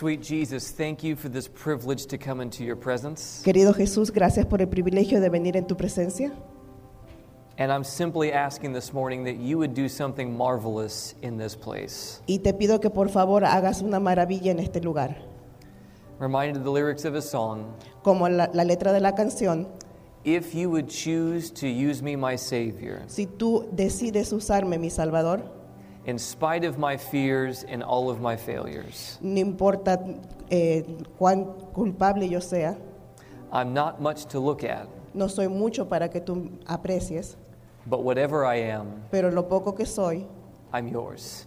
Sweet Jesus, thank you for this privilege to come into your presence. Querido Jesús, gracias por el privilegio de venir en tu presencia. And I'm simply asking this morning that you would do something marvelous in this place. Y te pido que por favor hagas una maravilla en este lugar. Reminded of the lyrics of a song Como la, la letra de la canción, If you would choose to use me, my Savior, si tú decides usarme, mi Salvador, in spite of my fears and all of my failures, no importa eh, cuán culpable yo sea, I'm not much to look at, no soy mucho para que tú aprecies, but whatever I am, pero lo poco que soy, I'm yours.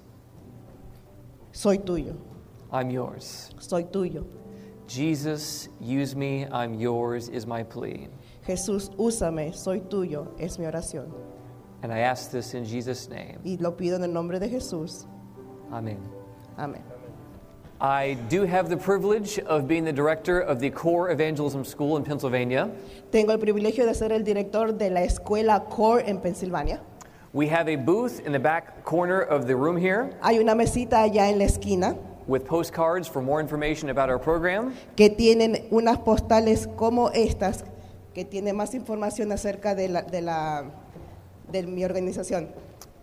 soy tuyo, I'm yours. soy tuyo. Jesus, use me, I'm yours, is my plea. Jesús, úsame, soy tuyo, es mi oración. And I ask this in Jesus' name. Y lo pido en el nombre de Jesús. Amen. Amén. I do have the privilege of being the director of the Core Evangelism School in Pennsylvania. Tengo el privilegio de ser el director de la escuela CORE en Pensilvania. We have a booth in the back corner of the room here Hay una mesita allá en la esquina with postcards for more information about our program. que tienen unas postales como estas, que tiene más información acerca de, la, de, la, de mi organización.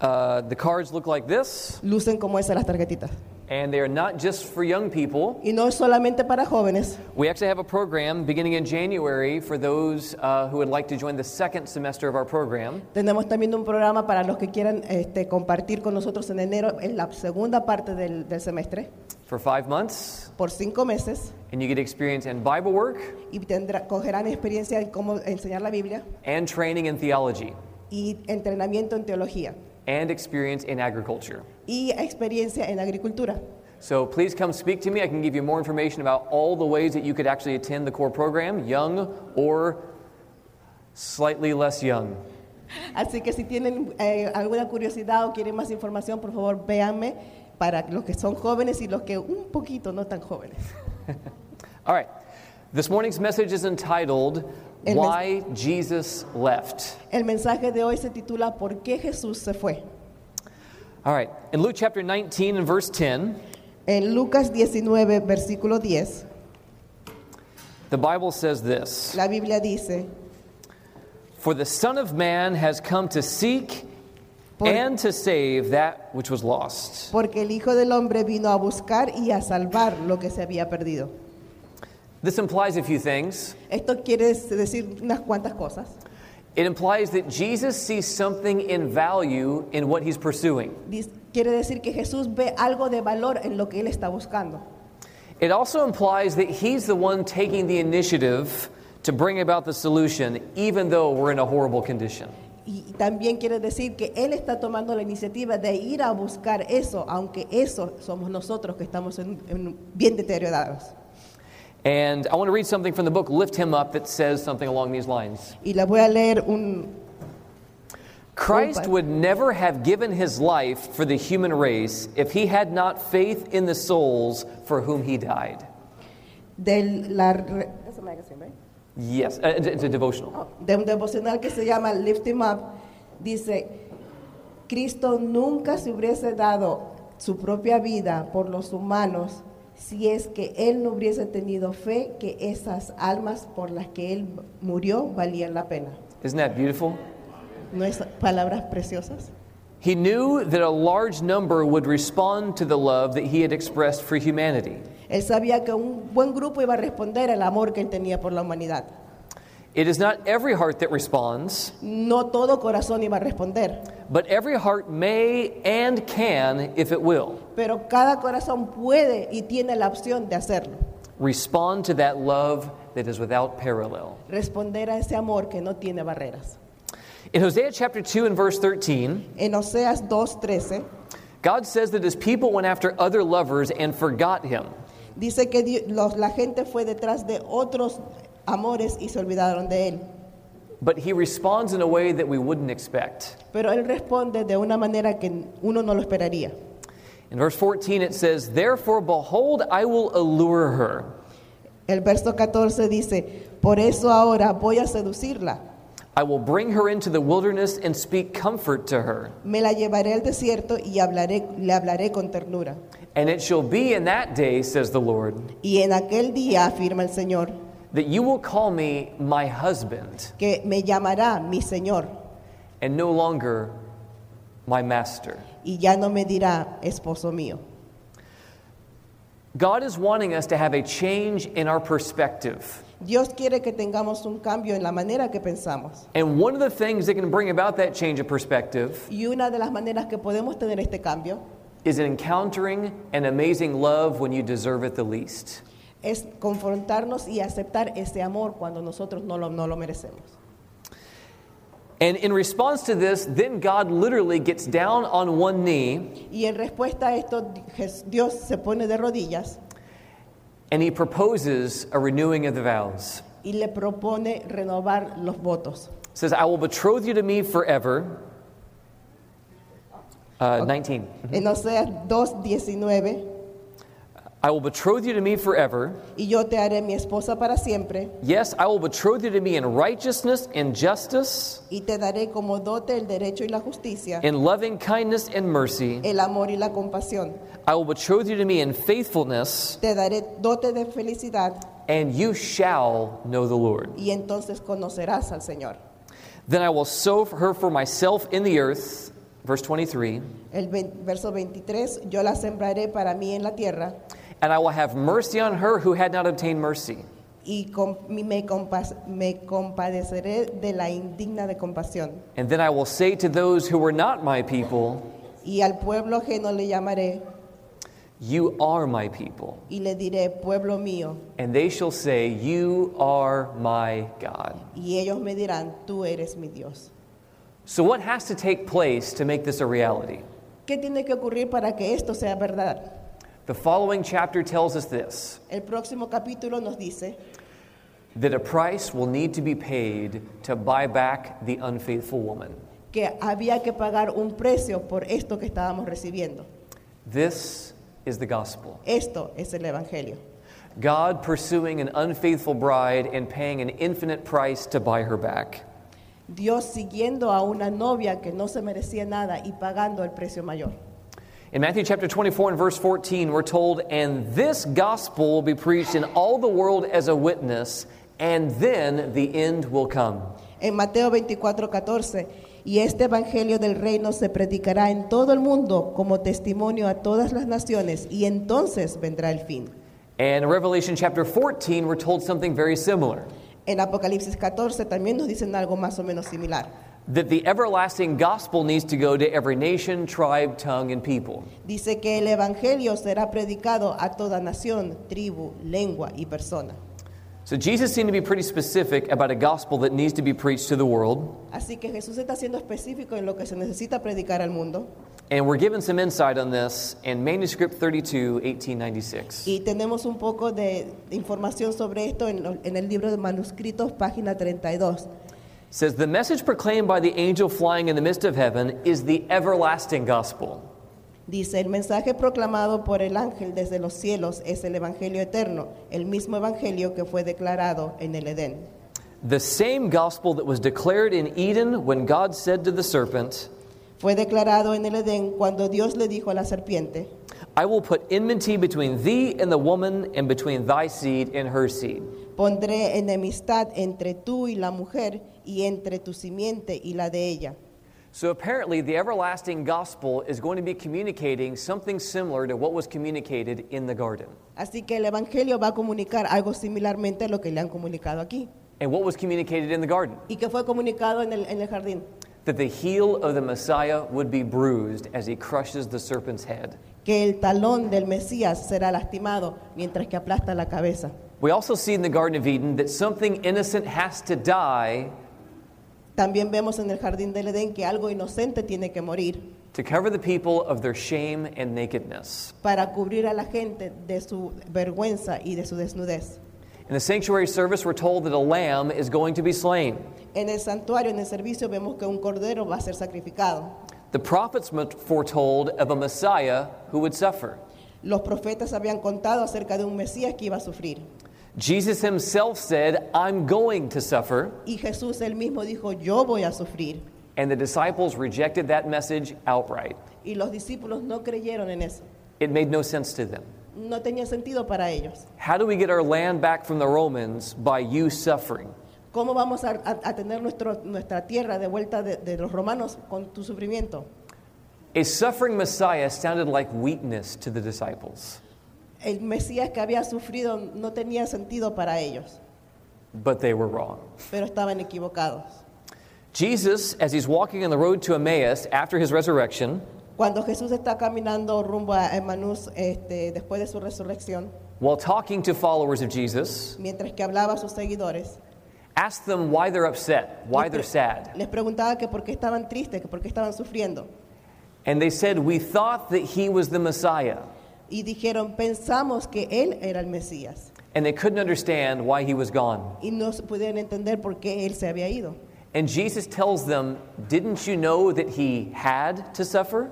Uh, the cards look like this, Lucen como esas las tarjetitas. and they are not just for young people. Y no es solamente para jóvenes, We actually have a program beginning in January for those uh, who would like to join the second semester of our program. tenemos también un programa para los que quieran este, compartir con nosotros en enero, en la segunda parte del, del semestre, for five months, por cinco meses, and you get experience in Bible work y tendrá, cogerán experiencia en cómo enseñar la Biblia and training in theology y entrenamiento en teología. and experience in agriculture. y experiencia en agricultura. So please come speak to me. I can give you more information about all the ways that you could actually attend the core program, young or slightly less young. Así que si tienen eh, alguna curiosidad o quieren más información, por favor véanme para los que son jóvenes y los que un poquito no tan jóvenes. All right. This morning's message is entitled El mes- Why Jesus Left. El mensaje de hoy se titula ¿Por qué Jesús se fue? All right. In Luke chapter 19 and verse 10, En Lucas 19, versículo 10, the Bible says this. la Biblia dice, For the Son of Man has come to seek Por- and to save that which was lost. porque el Hijo del Hombre vino a buscar y a salvar lo que se había perdido. This implies a few things. Esto quiere decir unas cuantas cosas. It implies that Jesus sees something in value in what he's pursuing. Dice- Quiere decir que Jesús ve algo de valor en lo que él está buscando. It also implies that he's the one taking the initiative to bring about the solution, even though we're in a horrible condition. Y también quiere decir que Él está tomando la iniciativa de ir a buscar eso, aunque eso somos nosotros que estamos en- en- bien deteriorados. And I want to read something from the book Lift Him Up that says something along these lines. Y les voy a leer un... Christ Opa. would never have given his life for the human race if he had not faith in the souls for whom he died. De, la, re- that's a magazine, right? Yes, uh, it's it's a devotional. Oh, de un devocional que se llama Lift Him Up, dice, Cristo nunca se hubiese dado su propia vida por los humanos si es que Él no hubiese tenido fe que esas almas por las que Él murió valían la pena. Isn't that beautiful? ¿No es palabras preciosas? He knew that a large number would respond to the love that he had expressed for humanity. Él sabía que un buen grupo iba a responder al amor que él tenía por la humanidad. It is not every heart that responds, No todo corazón iba a responder, but every heart may and can, if it will, pero cada corazón puede y tiene la opción de hacerlo. respond to that love that is without parallel. Responder a ese amor que no tiene barreras. In Hosea chapter 2 and verse 13, En Oseas 2.13 God says that his people went after other lovers and forgot him. dice que Di- los- la gente fue detrás de otros amores y se olvidaron de él. But he responds in a way that we wouldn't expect. Pero él responde de una manera que uno no lo esperaría. In verse 14, it says, Therefore, behold, I will allure her. El verso 14 dice, por eso ahora voy a seducirla. I will bring her into the wilderness and speak comfort to her, Me la llevaré al desierto y hablaré, le hablaré con ternura. And it shall be in that day, says the Lord, Y en aquel día, afirma el Señor, that you will call me my husband que me llamará mi Señor and no longer my master. y ya no me dirá esposo mío. God is wanting us to have a change in our perspective. Dios quiere que tengamos un cambio en la manera que pensamos. And one of the things that can bring about that change of perspective Y una de las maneras que podemos tener este cambio is encountering an amazing love when you deserve it the least. es confrontarnos y aceptar ese amor cuando nosotros no lo, no lo merecemos. And in response to this, then God literally gets down on one knee Y en respuesta a esto, Jes- Dios se pone de rodillas and he proposes a renewing of the vows. y le propone renovar los votos. says, I will betroth you to me forever. Uh, 19. En Oseas 2.19, I will betroth you to me forever. y yo te haré mi esposa para siempre, Yes, I will betroth you to me in righteousness and justice, y te daré como dote el derecho y la justicia, in loving kindness and mercy. el amor y la compasión. I will betroth you to me in faithfulness, Te daré dote de felicidad, and you shall know the Lord. y entonces conocerás al Señor. Then I will sow for her for myself in the earth. Verse 23. El ve- verso 23, yo la sembraré para mí en la tierra, And I will have mercy on her who had not obtained mercy. y com- mi- me, compas- me compadeceré de la indigna de compasión. And then I will say to those who were not my people, Y al pueblo ajeno le llamaré You are my people. y le diré, pueblo mío. And they shall say, You are my God. Y ellos me dirán, tú eres mi Dios. So, what has to take place to make this a reality? ¿Qué tiene que ocurrir para que esto sea verdad? The following chapter tells us this El próximo capítulo nos dice that a price will need to be paid to buy back the unfaithful woman. que había que pagar un precio por esto que estábamos recibiendo. This is the gospel Esto es el Evangelio. God pursuing an unfaithful bride and paying an infinite price to buy her back. Dios siguiendo a una novia que no se merecía nada y pagando el precio mayor. In Matthew chapter 24 and verse 14, we're told, And this gospel will be preached in all the world as a witness, and then the end will come. En Mateo 24, 14, y este Evangelio del reino se predicará en todo el mundo como testimonio a todas las naciones, y entonces vendrá el fin. And in Revelation chapter 14, we're told something very similar En Apocalipsis 14 también nos dicen algo más o menos similar. that the everlasting gospel needs to go to every nation, tribe, tongue, and people. Dice que el Evangelio será predicado a toda nación, tribu, lengua y persona. So Jesus seemed to be pretty specific about a gospel that needs to be preached to the world. Así que Jesús está siendo específico en lo que se necesita predicar al mundo. And we're given some insight on this in manuscript 32, 1896. Y tenemos un poco de información sobre esto en, lo- en el libro de manuscritos, página 32. It says, The message proclaimed by the angel flying in the midst of heaven is the everlasting gospel. Dice, el mensaje proclamado por el ángel desde los cielos es el Evangelio eterno, el mismo Evangelio que fue declarado en el Edén. The same gospel that was declared in Eden when God said to the serpent, Fue declarado en el Edén cuando Dios le dijo a la serpiente, I will put enmity between thee and the woman, and between thy seed and her seed. pondré enemistad entre tú y la mujer y entre tu simiente y la de ella. So apparently, the everlasting gospel is going to be communicating something similar to what was communicated in the garden. Así que el Evangelio va a comunicar algo similarmente a lo que le han comunicado aquí And what was communicated in the garden? y que fue comunicado en el, en el jardín. That the heel of the Messiah would be bruised as he crushes the serpent's head. que el talón del Mesías será lastimado mientras que aplasta la cabeza. We also see in the Garden of Eden that something innocent has to die También vemos en el jardín del Edén que algo inocente tiene que morir to cover the people of their shame and nakedness. para cubrir a la gente de su vergüenza y de su desnudez. In the sanctuary service, we're told that a lamb is going to be slain. En el santuario, en el servicio, vemos que un cordero va a ser sacrificado. The prophets m- foretold of a Messiah who would suffer. Los profetas habían contado acerca de un Mesías que iba a sufrir. Jesus himself said, I'm going to suffer. Y Jesús él mismo dijo, yo voy a sufrir. And the disciples rejected that message outright. Y los discípulos no creyeron en eso. It made no sense to them. no tenía sentido para ellos. How do we get our land back from the Romans by you suffering? ¿Cómo vamos a, a- a tener nuestro- nuestra tierra de vuelta de, de los romanos con tu sufrimiento? A suffering Messiah sounded like weakness to the disciples, El Mesías que había sufrido no tenía sentido para ellos, but they were wrong. pero estaban equivocados. Jesus, as he's walking on the road to Emmaus after his resurrection, Cuando Jesús está caminando rumbo a Emanús este, después de su resurrección, while talking to followers of Jesus, mientras que hablaba a sus seguidores, asked them why they're upset, why they're sad. les preguntaba que por qué estaban tristes, que por qué estaban sufriendo. And they said, We thought that he was the Messiah. Y dijeron, pensamos que Él era el Mesías. And they couldn't understand why he was gone. Y no se pudieron entender por qué Él se había ido. And Jesus tells them, Didn't you know that he had to suffer?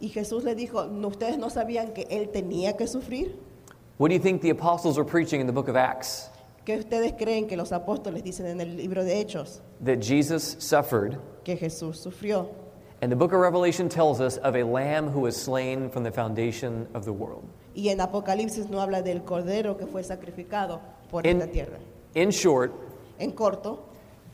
Y Jesús les dijo, "¿No- ¿ustedes no sabían que Él tenía que sufrir? What do you think the apostles are preaching in the book of Acts? ¿Qué ustedes creen que los apóstoles dicen en el libro de Hechos? That Jesus suffered. Que Jesús sufrió. And the book of Revelation tells us of a lamb who was slain from the foundation of the world. Y en Apocalipsis no habla del cordero que fue sacrificado por En- esta tierra. In short, En corto,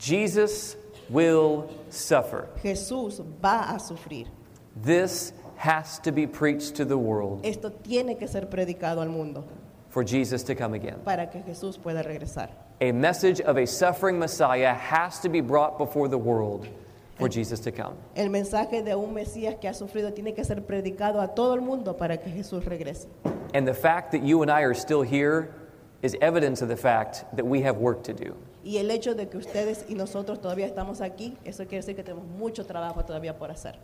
Jesus will suffer. Jesús va a sufrir. This has to be preached to the world Esto tiene que ser predicado al mundo for Jesus to come again. para que Jesús pueda regresar. A message of a suffering Messiah has to be brought before the world for Jesus to come. El mensaje de un Mesías que ha sufrido tiene que ser predicado a todo el mundo para que Jesús regrese. And the fact that you and I are still here is evidence of the fact that we have work to do. Y el hecho de que ustedes y nosotros todavía estamos aquí, eso quiere decir que tenemos mucho trabajo todavía por hacer.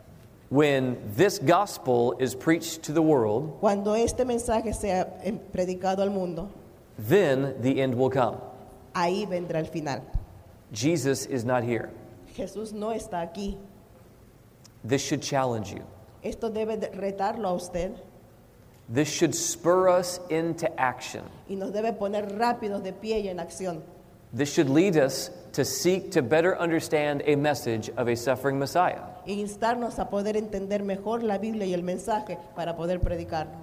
When this gospel is preached to the world, Cuando este mensaje sea eh, predicado al mundo, then the end will come. ahí vendrá el final. Jesus is not here. Jesús no está aquí. This should challenge you. Esto debe de retarlo a usted This should spur us into action. y nos debe poner rápidos de pie y en acción. This should lead us to seek to better understand a message of a suffering Messiah. E instarnos a poder entender mejor la Biblia y el mensaje para poder predicarlo.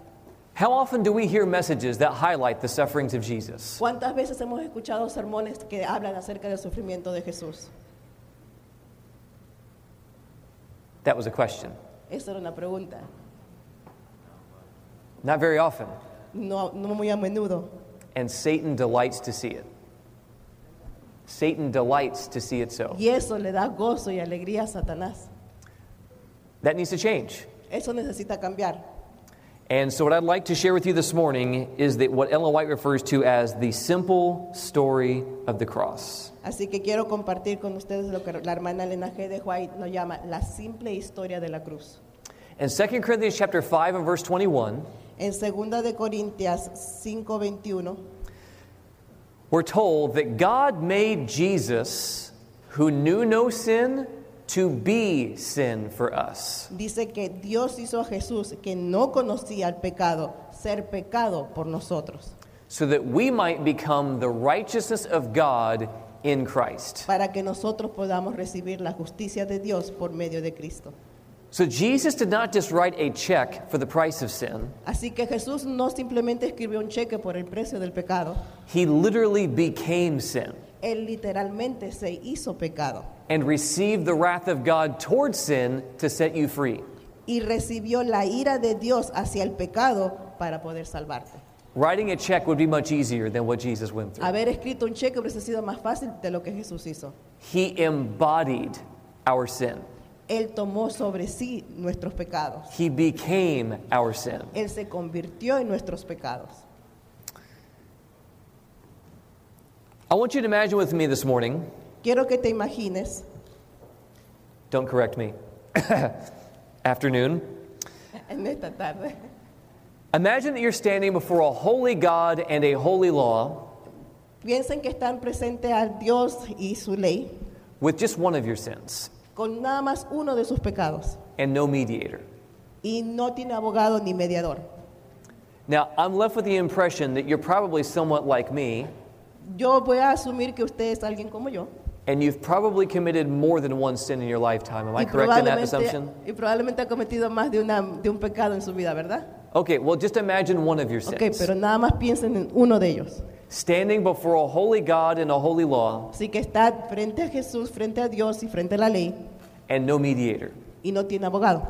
How often do we hear messages that highlight the sufferings of Jesus? ¿Cuántas veces hemos escuchado sermones que hablan acerca del sufrimiento de Jesús? That was a question. Esa era una pregunta. Not very often. No, no muy a menudo. And Satan delights to see it. Satan delights to see it so. Y eso le da gozo y alegría a Satanás. That needs to change. Eso necesita cambiar. And so, what I'd like to share with you this morning is that what Ellen White refers to as the simple story of the cross. Así que quiero compartir con ustedes lo que la hermana Elena G. de White nos llama la simple historia de la cruz. In 2 Corinthians chapter 5 and verse 21, En 2 de Corintias 5:21 we're told that God made Jesus, who knew no sin, to be sin for us, dice que Dios hizo a Jesús que no conocía el pecado ser pecado por nosotros, so that we might become the righteousness of God in Christ. para que nosotros podamos recibir la justicia de Dios por medio de Cristo. So Jesus did not just write a check for the price of sin, Así que Jesús no simplemente escribió un cheque por el precio del pecado, he literally became sin él literalmente se hizo pecado and received the wrath of God towards sin to set you free. y recibió la ira de Dios hacia el pecado para poder salvarte. Writing a check would be much easier than what Jesus went through. Haber escrito un cheque hubiese sido más fácil de lo que Jesús hizo. He embodied our sin. Él tomó sobre sí nuestros pecados. He became our sin. Él se convirtió en nuestros pecados. I want you to imagine with me this morning, Quiero que te imagines don't correct me, afternoon. en esta tarde. Imagine that you're standing before a holy God and a holy law Piensen que están presentes a Dios y su ley with just one of your sins con nada más uno de sus pecados and no mediator. y no tiene abogado ni mediador. Now, I'm left with the impression that you're probably somewhat like me, Yo voy a asumir que usted es alguien como yo and you've probably committed more than one sin in your lifetime. Am I y correct in that probablemente, assumption? y probablemente ha cometido más de, una- de un pecado en su vida, ¿verdad? Okay, well, just imagine one of your sins. Ok, pero nada más piensen en uno de ellos. Standing before a holy God and a holy law Así que está frente a Jesús, frente a Dios y frente a la ley and no mediator. y no tiene abogado.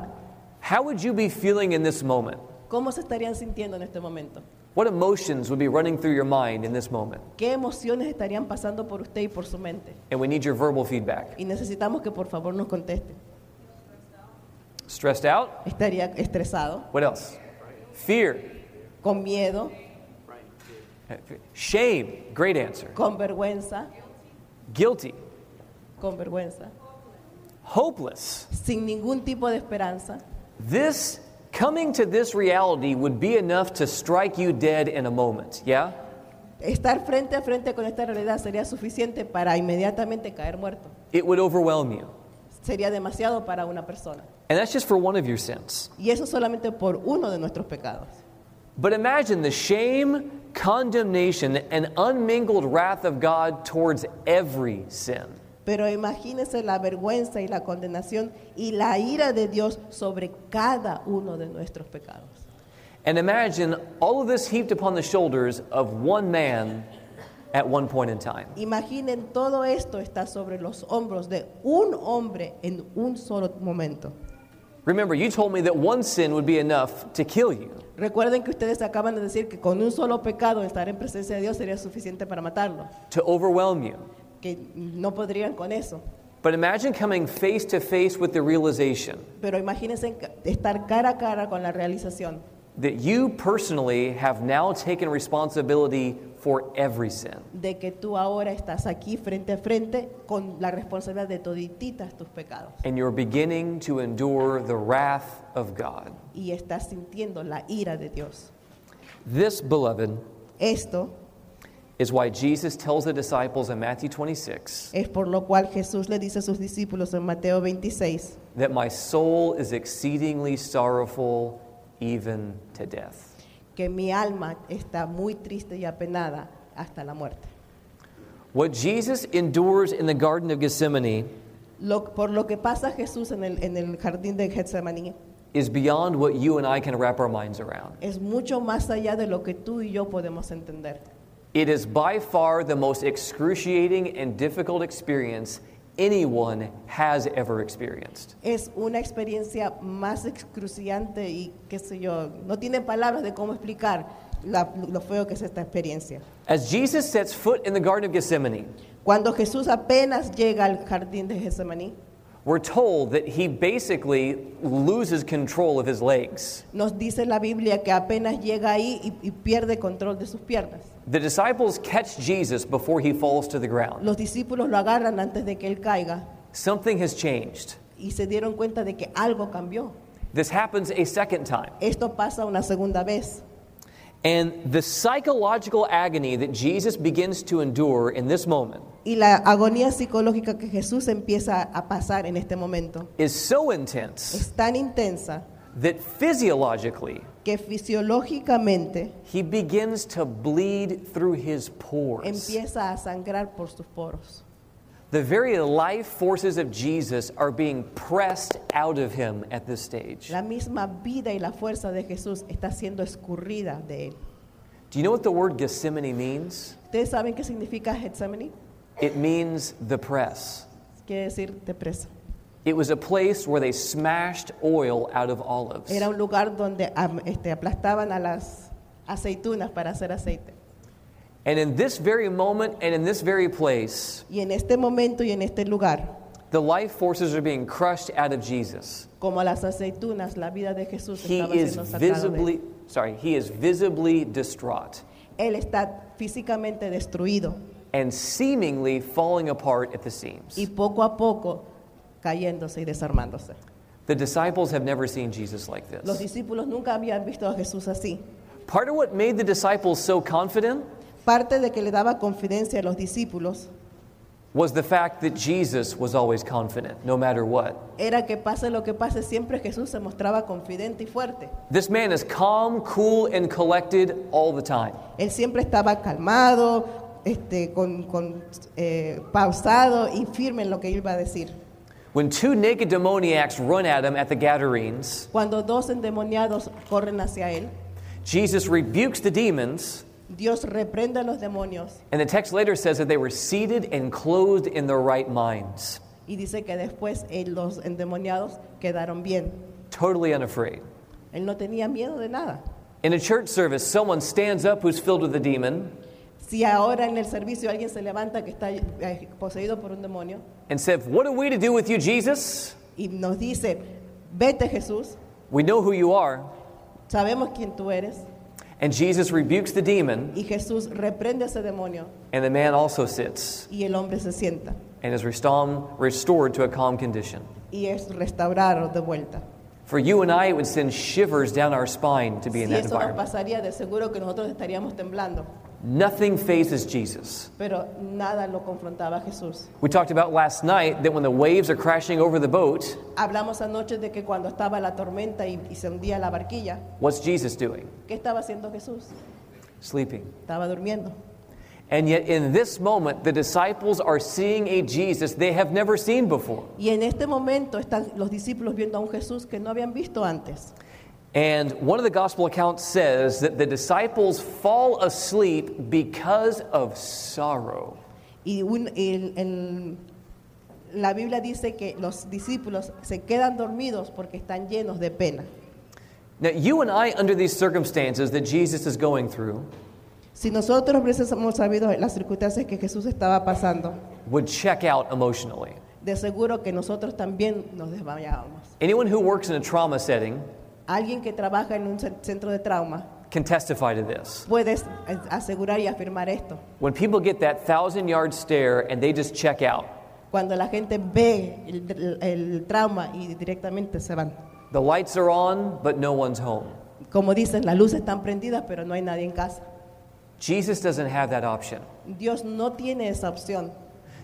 How would you be feeling in this moment? ¿Cómo se estarían sintiendo en este momento? What emotions would be running through your mind in this moment? ¿Qué emociones estarían pasando por usted y por su mente? And we need your verbal feedback. Y necesitamos que por favor nos conteste. Stressed out? Estaría estresado, What else? Fear. con miedo, Shame. Great answer. con vergüenza, Guilty. con vergüenza, Hopeless. sin ningún tipo de esperanza. This coming to this reality would be enough to strike you dead in a moment, yeah? Estar frente a frente con esta realidad sería suficiente para inmediatamente caer muerto. It would overwhelm you. Sería demasiado para una persona. And that's just for one of your sins. Y eso solamente por uno de nuestros pecados. But imagine the shame, condemnation, and unmingled wrath of God towards every sin. Pero imagínese la vergüenza y la condenación y la ira de Dios sobre cada uno de nuestros pecados. And imagine all of this heaped upon the shoulders of one man at one point in time. Imaginen todo esto está sobre los hombros de un hombre en un solo momento. Remember, you told me that one sin would be enough to kill you. Recuerden que ustedes acaban de decir que con un solo pecado estar en presencia de Dios sería suficiente para matarlo, to overwhelm you. que no podrían con eso. But imagine coming face to face with the realization Pero imagínense ca- estar cara a cara con la realización that you personally have now taken responsibility for every sin. de que tú ahora estás aquí frente a frente con la responsabilidad de todititas tus pecados And you're beginning to endure the wrath of God. y estás sintiendo la ira de Dios. This, beloved, Esto is why Jesus tells the disciples in Matthew 26 es por lo cual Jesús le dice a sus discípulos en Mateo 26, that my soul is exceedingly sorrowful even to death. que mi alma está muy triste y apenada hasta la muerte. What Jesus endures in the Garden of Gethsemane Lo- por lo que pasa Jesús en el, en el jardín de Getsemaní is beyond what you and I can wrap our minds around. es mucho más allá de lo que tú y yo podemos entender. It is by far the most excruciating and difficult experience anyone has ever experienced. Es una experiencia más excruciante y qué sé yo, no tiene palabras de cómo explicar la- lo feo que es esta experiencia. As Jesus sets foot in the Garden of Gethsemane, Cuando Jesús apenas llega al jardín de Getsemaní, we're told that he basically loses control of his legs. nos dice la Biblia que apenas llega ahí y- y pierde control de sus piernas. The disciples catch Jesus before he falls to the ground. Los discípulos lo agarran antes de que él caiga Something has changed. y se dieron cuenta de que algo cambió. This happens a second time. Esto pasa una segunda vez. And the psychological agony that Jesus begins to endure in this moment Y la agonía psicológica que Jesús empieza a pasar en este momento is so intense es tan intensa that physiologically, que fisiológicamente He begins to bleed through his pores. empieza a sangrar por sus poros. The very life forces of Jesus are being pressed out of him at this stage. La misma vida y la fuerza de Jesús está siendo escurrida de él. Do you know what the word Gethsemane means? ¿Ustedes saben qué significa Getsemaní? It means the press. Quiere decir de presa. It was a place where they smashed oil out of olives. Era un lugar donde am, este, aplastaban a las aceitunas para hacer aceite. And in this very moment and in this very place, Y en este momento y en este lugar, the life forces are being crushed out of Jesus. como las aceitunas, la vida de Jesús He estaba is siendo sacada. de él. visibly sorry, he is visibly distraught él está físicamente destruido and seemingly falling apart at the seams. y poco a poco cayéndose y desarmándose. The disciples have never seen Jesus like Los this. discípulos nunca habían visto a Jesús así. Part of what made the disciples so confident Parte de que le daba confidencia a los discípulos was the fact that Jesus was always confident, no matter what. era que pase lo que pase, siempre Jesús se mostraba confidente y fuerte. This man is calm, cool, and collected all the time. Él siempre estaba calmado, este, con, con, eh, pausado y firme en lo que iba a decir. When two naked demoniacs run at him at the Gadarenes, Cuando dos endemoniados corren hacia él, Jesus rebukes the demons, Dios reprende a los demonios and the text later says that they were seated and clothed in their right minds, y dice que después eh, los endemoniados quedaron bien. totally unafraid. Él no tenía miedo de nada. In a church service, someone stands up who's filled with a demon Si ahora en el servicio alguien se levanta que está eh, poseído por un demonio and said, What are we to do with you, Jesus? y nos dice, vete Jesús, We know who you are. sabemos quién tú eres, And Jesus rebukes the demon, y Jesús reprende a ese demonio and the man also sits y el hombre se sienta and is restom- restored to a calm condition. y es restaurado de vuelta. For you and I, it would send shivers down our spine to be in Si that eso nos environment. pasaría, de seguro que nosotros estaríamos temblando, Nothing phases Jesus. pero nada lo confrontaba a Jesús. We talked about last night that when the waves are crashing over the boat, Hablamos anoche de que cuando estaba la tormenta y, y se hundía la barquilla, what's Jesus doing? ¿qué estaba haciendo Jesús? Sleeping. Estaba durmiendo. And yet, in this moment, the disciples are seeing a Jesus they have never seen before. Y en este momento están los discípulos viendo a un Jesús que no habían visto antes. And one of the gospel accounts says that the disciples fall asleep because of sorrow. Y un- el- el- la Biblia dice que los discípulos se quedan dormidos porque están llenos de pena. Now, you and I, under these circumstances that Jesus is going through, Si nosotros hubiésemos sabido las circunstancias que Jesús estaba pasando, would check out emotionally. de seguro que nosotros también nos desmayábamos. Anyone who works in a trauma setting Alguien que trabaja en un cen- centro de trauma can testify to this. puede as- asegurar y afirmar esto. When people get that thousand yard stare and they just check out, Cuando la gente ve el, el trauma y directamente se van. the lights are on, but no one's home. Como dicen, las luces están prendidas, pero no hay nadie en casa. Jesus doesn't have that option. Dios no tiene esa opción.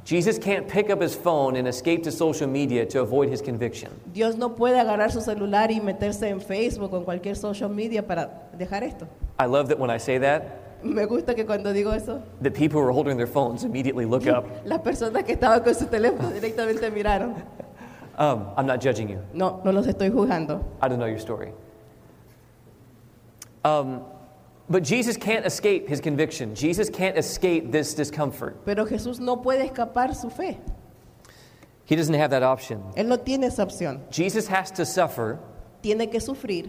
Jesus can't pick up his phone and escape to social media to avoid his conviction. Dios no puede agarrar su celular y meterse en Facebook o en cualquier social media para dejar esto. I love that when I say that, Me gusta que cuando digo eso, the people who are holding their phones immediately look up. las personas que estaban con su teléfono directamente miraron. Um, I'm not judging you. No, no los estoy juzgando. I don't know your story. Um, but Jesus can't escape his conviction. Jesus can't escape this discomfort. Pero Jesús no puede escapar su fe. He doesn't have that option. Él no tiene esa opción. Jesus has to suffer, Tiene que sufrir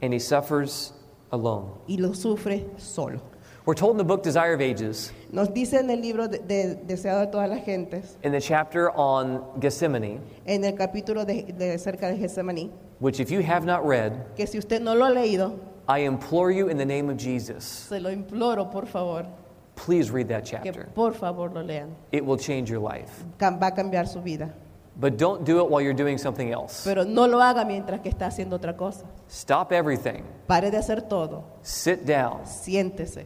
and he suffers alone. y lo sufre solo. We're told in the book Desire of Ages, Nos dice en el libro de, de- Deseado de todas las gentes, in the chapter on Gethsemane, en el capítulo de, de cerca de Getsemaní, which if you have not read, que si usted no lo ha leído, I implore you in the name of Jesus, se lo imploro, por favor, please read that que chapter. por favor lo lean. It will change your life. Cam- Va a cambiar su vida. But don't do it while you're doing something else. Pero no lo haga mientras que está haciendo otra cosa. Stop everything, Pare de hacer todo. sit down, Siéntese.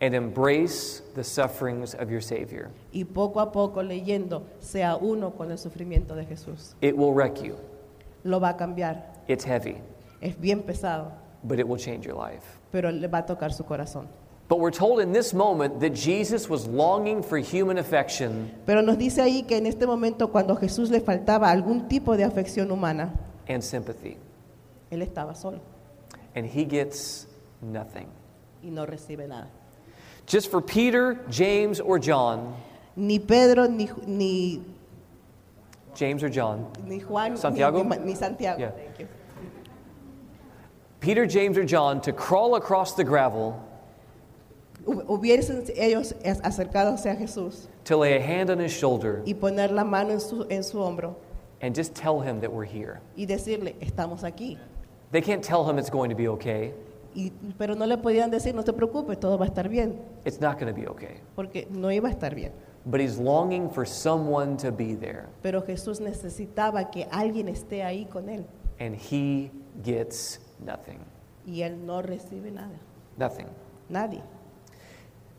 and embrace the sufferings of your Savior. Y poco a poco leyendo, sea uno con el sufrimiento de Jesús. It will wreck you. Lo va a cambiar. It's heavy, Es bien pesado, but it will change your life. pero le va a tocar su corazón. But we're told in this moment that Jesus was longing for human affection Pero nos dice ahí que en este momento cuando a Jesús le faltaba algún tipo de afección humana, and sympathy, él estaba solo and he gets nothing. y no recibe nada. Just for Peter, James, or John, Ni Pedro, ni, Ju- ni, James or John, ni Juan, ni- ¿Santiago? ni, Ma- ni Santiago. Yeah. thank you. Peter, James, or John to crawl across the gravel Hu- Hubiesen ellos as- acercándose a Jesús to lay a hand on his shoulder y poner la mano en su, en su hombro and just tell him that we're here. y decirle, estamos aquí. They can't tell him it's going to be okay. Y- pero no le podían decir, no te preocupes, todo va a estar bien, It's not going to be okay. porque no iba a estar bien. But he's longing for someone to be there. Pero Jesús necesitaba que alguien esté ahí con él and he gets nothing. y él no recibe nada, Nothing. nadie.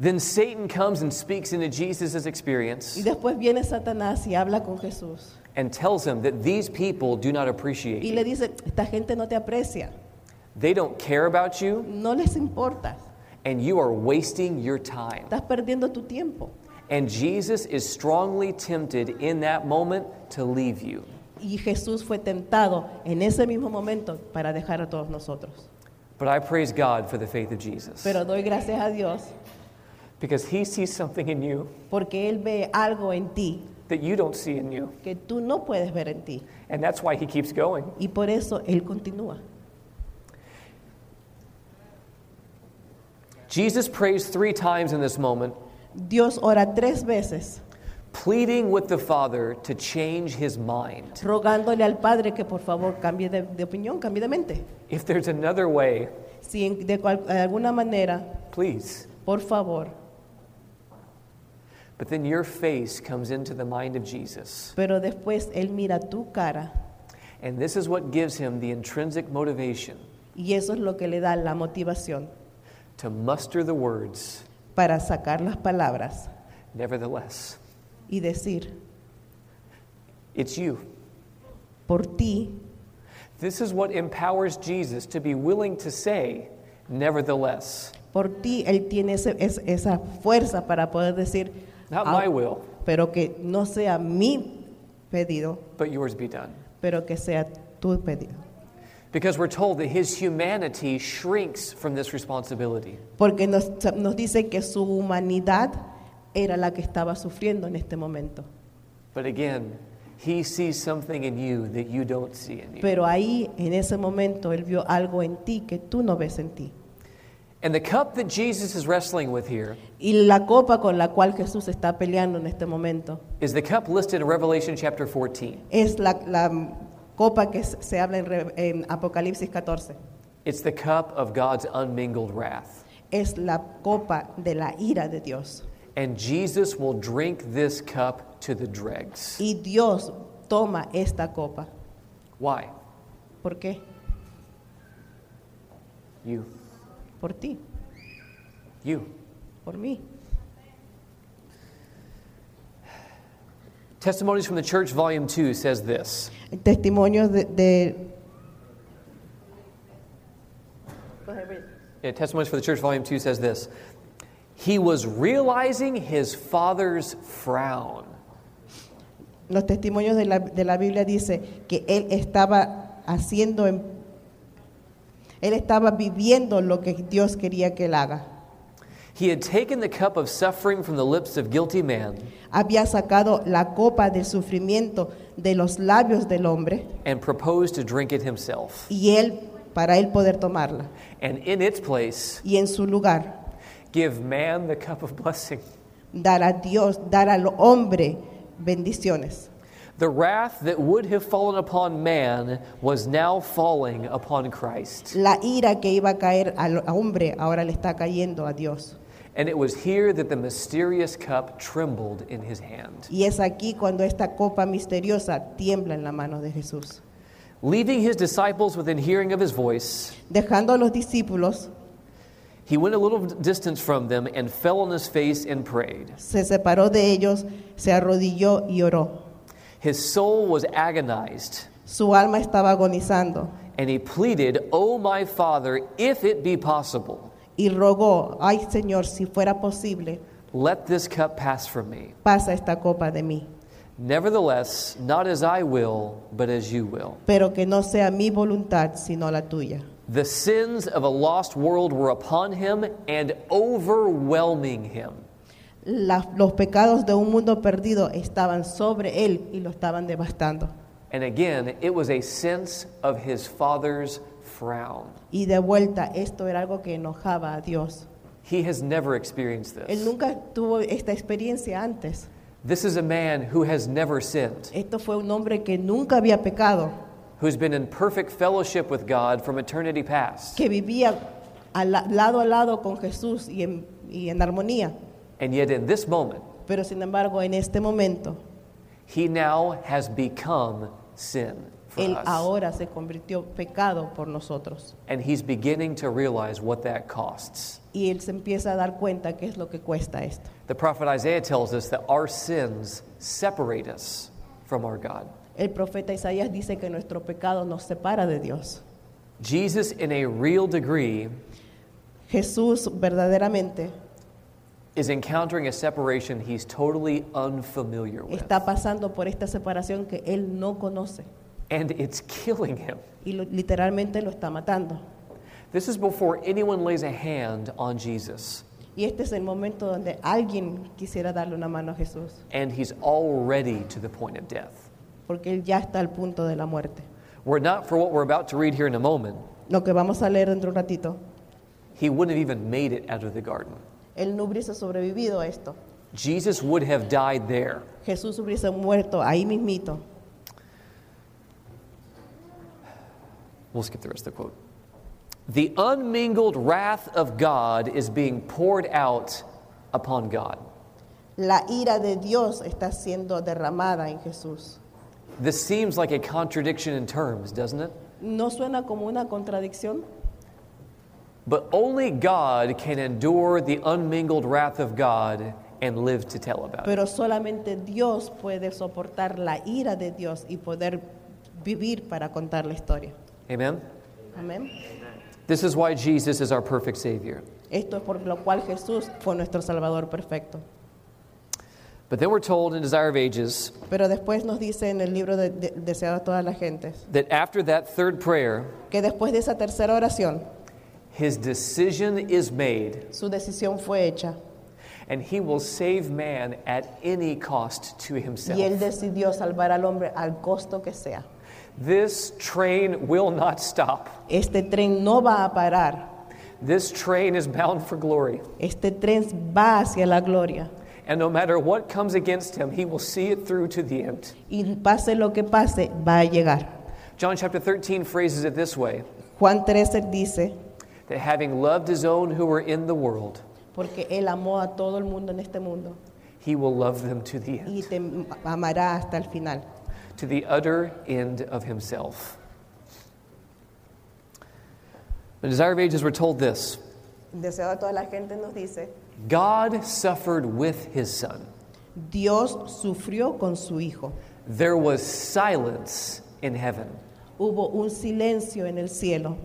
Then Satan comes and speaks into Jesus' Y experience después viene Satanás y habla con Jesús and tells him that these people do not y appreciate le you. dice, esta gente no te aprecia, They don't care about you, no les importa, and you are wasting your time. estás perdiendo tu tiempo And Jesus is strongly tempted in that moment to leave you. Y Jesús fue tentado en ese mismo momento para dejar a todos nosotros. But I praise God for the faith of Jesus Pero doy gracias a Dios because he sees something in you porque Él ve algo en ti that you don't see in you. que tú no puedes ver en ti. And that's why he keeps going. Y por eso Él continúa. Jesus prays three times in this moment, Dios ora tres veces pleading with the Father to change his mind. rogándole al Padre que por favor cambie de, de opinión, cambie de mente. If there's another way, Si en- de, cual- de alguna manera, please. por favor. But then your face comes into the mind of Jesus. Pero después Él mira tu cara And this is what gives him the intrinsic motivation y eso es lo que le da la motivación to muster the words, para sacar las palabras nevertheless. y decir, It's you. por ti, This is what empowers Jesus to be willing to say, nevertheless. por ti, Él tiene ese- es- esa fuerza para poder decir, Not "Ah, my will, pero que no sea mi pedido, but yours be done. pero que sea tu pedido. Because we're told that his humanity shrinks from this responsibility. Porque nos, nos dice que su humanidad era la que estaba sufriendo en este momento. But again, he sees something in you that you don't see in you. Pero ahí, en ese momento, Él vio algo en ti que tú no ves en ti. And the cup that Jesus is wrestling with here Y la copa con la cual Jesús está peleando en este momento is the cup listed in Revelation chapter 14. es la, la copa que se se habla en, Re- en Apocalipsis 14. It's the cup of God's unmingled wrath. Es la copa de la ira de Dios. And Jesus will drink this cup to the dregs. Y Dios toma esta copa. Why? ¿Por qué? You. Por ti, You. por mí. Testimonies from the Church, Volume 2 says this El testimonio de... de- Yeah, Testimonies for the Church, Volume 2 says this He was realizing his father's frown. los testimonios de la, de la Biblia dice que él estaba haciendo... en- él estaba viviendo lo que Dios quería que él haga. He had taken the cup of suffering from the lips of guilty man había sacado la copa del sufrimiento de los labios del hombre and proposed to drink it himself. y él para él poder tomarla And in its place, y en su lugar give man the cup of blessing. dar a Dios, dar al hombre bendiciones. The wrath that would have fallen upon man was now falling upon Christ. La ira que iba a caer al hombre ahora le está cayendo a Dios. And it was here that the mysterious cup trembled in his hand. Y es aquí cuando esta copa misteriosa tiembla en la mano de Jesús, Leaving his disciples within hearing of his voice, dejando a los discípulos he went a little distance from them and fell on his face and prayed. se separó de ellos, se arrodilló y oró. His soul was agonized, Su alma estaba agonizando and he pleaded, O my Father, if it be possible, y rogó, ay Señor, si fuera posible, let this cup pass from me. pasa esta copa de mí, Nevertheless, not as I will, but as you will. pero que no sea mi voluntad sino la tuya. The sins of a lost world were upon him and overwhelming him. La- los pecados de un mundo perdido estaban sobre él y lo estaban devastando. And again, it was a sense of his father's frown. Y de vuelta, esto era algo que enojaba a Dios. He has never experienced Él this. nunca tuvo esta experiencia antes. This is a man who has never sinned, Esto fue un hombre que nunca había pecado, who's been in perfect fellowship with God from eternity past, que vivía al la- lado a lado con Jesús y en, y en armonía. and yet in this moment, Pero sin embargo, en este momento, he now has become sin for él us. ahora se convirtió pecado por nosotros. And he's beginning to realize what that costs. y él se empieza a dar cuenta qué es lo que cuesta esto. The prophet Isaiah tells us that our sins separate us from our God. El profeta Isaías dice que nuestro pecado nos separa de Dios. Jesus, in a real degree, Jesús verdaderamente is encountering a separation he's totally unfamiliar with. está pasando por esta separación que él no conoce And it's killing him. y lo- literalmente lo está matando. This is before anyone lays a hand on Jesus. Y este es el momento donde alguien quisiera darle una mano a Jesús, And he's already to the point of death. porque él ya está al punto de la muerte. Were it not for what we're about to read here in a moment, Lo que vamos a leer dentro de un ratito, he wouldn't have even made it out of the garden. él no hubiese sobrevivido a esto. Jesus would have died there. Jesús hubiese muerto ahí mismito. We'll skip the rest of the quote. The unmingled wrath of God is being poured out upon God. La ira de Dios está siendo derramada en Jesús. This seems like a contradiction in terms, doesn't it? ¿No suena como una contradicción? But only God can endure the unmingled wrath of God and live to tell about it. Pero solamente Dios puede soportar la ira de Dios y poder vivir para contar la historia. Amen? Amén. This is why Jesus is our perfect Savior. Esto es por lo cual Jesús fue nuestro Salvador perfecto. But then we're told in Desire of Ages Pero después nos dice en el libro de, de- Deseado a todas las gentes that after that third prayer, que después de esa tercera oración, his decision is made, su decisión fue hecha and he will save man at any cost to himself. y él decidió salvar al hombre al costo que sea. This train will not stop. Este tren no va a parar, This train is bound for glory. este tren va hacia la gloria And no matter what comes against him, he will see it through to the end. y pase lo que pase, va a llegar. John chapter 13 phrases it this way Juan 13 dice, that having loved his own who were in the world, porque él amó a todo el mundo en este mundo he will love them to the y end, te amará hasta el final. to the utter end of himself. The Desire of Ages were told this Deseado a toda la gente nos dice, God suffered with his son. Dios sufrió con su hijo. There was silence in heaven. Hubo un silencio en el cielo.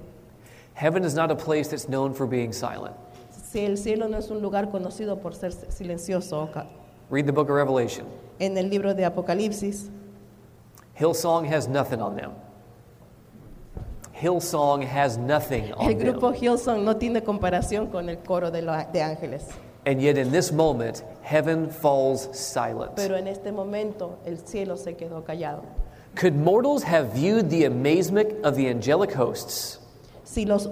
Heaven is not a place that's known for being silent. Si el cielo no es un lugar conocido por ser silencioso, Oca- Read the book of Revelation. en el libro de Apocalipsis, Hillsong has nothing on them. Hillsong has nothing el on grupo them. Hillsong no tiene comparación con el coro de, los- de ángeles. And yet, in this moment, heaven falls silent. Pero en este momento el cielo se quedó callado. Could mortals have viewed the amazement of the angelic hosts Si los,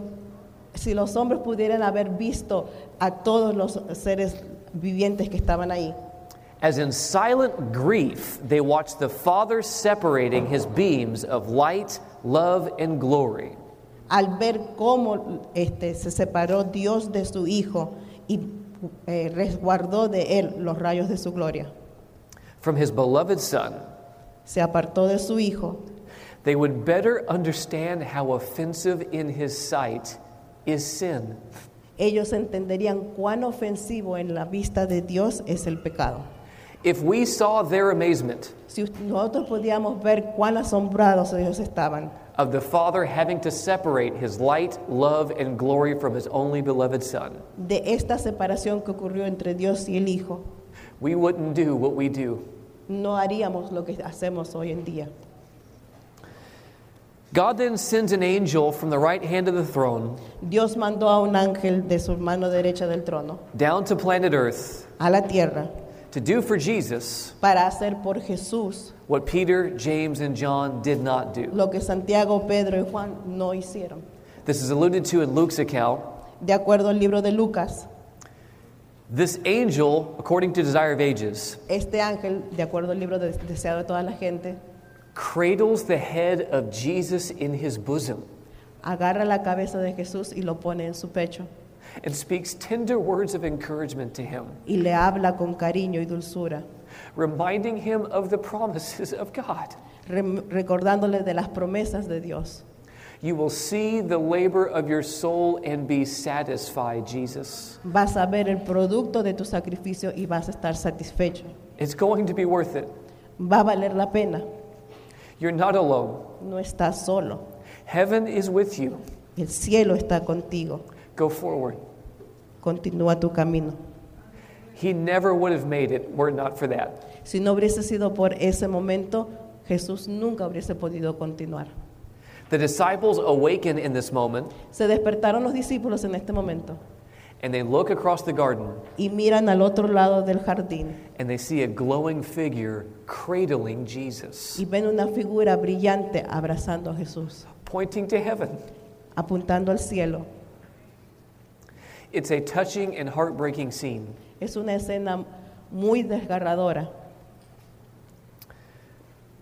si los hombres pudieran haber visto a todos los seres vivientes que estaban ahí, as in silent grief they watched the Father separating his beams of light, love, and glory? al ver cómo este, se separó Dios de su hijo y eh, resguardó de él los rayos de su gloria, From his beloved Son, se apartó de su hijo, they would better understand how offensive in his sight is sin. ellos entenderían cuán ofensivo en la vista de Dios es el pecado. If we saw their amazement Si us- nosotros podíamos ver cuán asombrados ellos estaban of the Father having to separate his light, love, and glory from his only beloved Son, de esta separación que ocurrió entre Dios y el Hijo, we wouldn't do what we do. no haríamos lo que hacemos hoy en día. God then sends an angel from the right hand of the throne Dios mandó a un ángel de su mano derecha del trono down to planet Earth a la tierra to do for Jesus para hacer por Jesús what Peter, James, and John did not do. lo que Santiago, Pedro y Juan no hicieron. This is alluded to in Luke's account. De acuerdo al libro de Lucas, This angel, according to Desire of Ages, este ángel, de acuerdo al libro de- deseado de toda la gente, cradles the head of Jesus in his bosom agarra la cabeza de Jesús y lo pone en su pecho and speaks tender words of encouragement to him, y le habla con cariño y dulzura, reminding him of the promises of God. rem- recordándole de las promesas de Dios. You will see the labor of your soul and be satisfied, Jesus. Vas a ver el producto de tu sacrificio y vas a estar satisfecho. It's going to be worth it. Va a valer la pena. You're not alone. No estás solo. Heaven is with you. El cielo está contigo. Go forward. Continúa tu camino. He never would have made it were it not for that. Si no hubiese sido por ese momento, Jesús nunca hubiese podido continuar. The disciples awaken in this moment Se despertaron los discípulos en este momento and they look across the garden y miran al otro lado del jardín and they see a glowing figure cradling Jesus, y ven una figura brillante abrazando a Jesús, pointing to heaven. apuntando al cielo. It's a touching and heartbreaking scene. Es una escena muy desgarradora.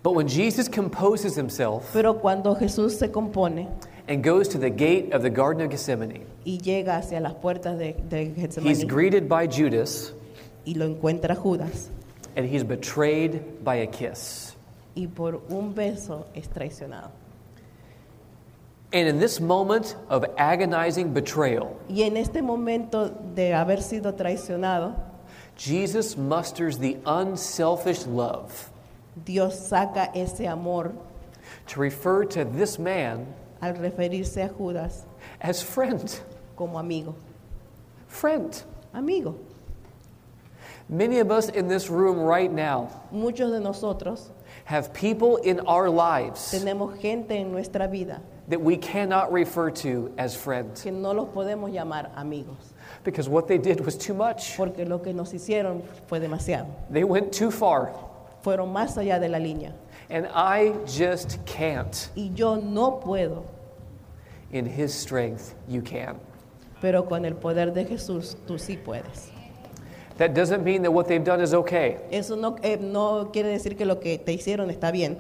But when Jesus composes himself Pero cuando Jesús se compone and goes to the gate of the Garden of Gethsemane, y llega hacia las puertas de, de he's Getsemaní greeted by Judas y lo encuentra Judas and he's betrayed by a kiss. y por un beso es traicionado. And in this moment of agonizing betrayal, Y en este momento de haber sido traicionado, Jesus musters the unselfish love Dios saca ese amor to refer to this man al referirse a Judas as friend. como amigo. Friend. Amigo. Many of us in this room right now Muchos de nosotros have people in our lives tenemos gente en nuestra vida that we cannot refer to as friends que no los podemos llamar amigos, because what they did was too much. porque lo que nos hicieron fue demasiado. They went too far. Fueron más allá de la línea. And I just can't. Y yo no puedo, In his strength, you can. pero con el poder de Jesús tú sí puedes. That doesn't mean that what they've done is okay. Eso no, eh, no quiere decir que lo que te hicieron está bien.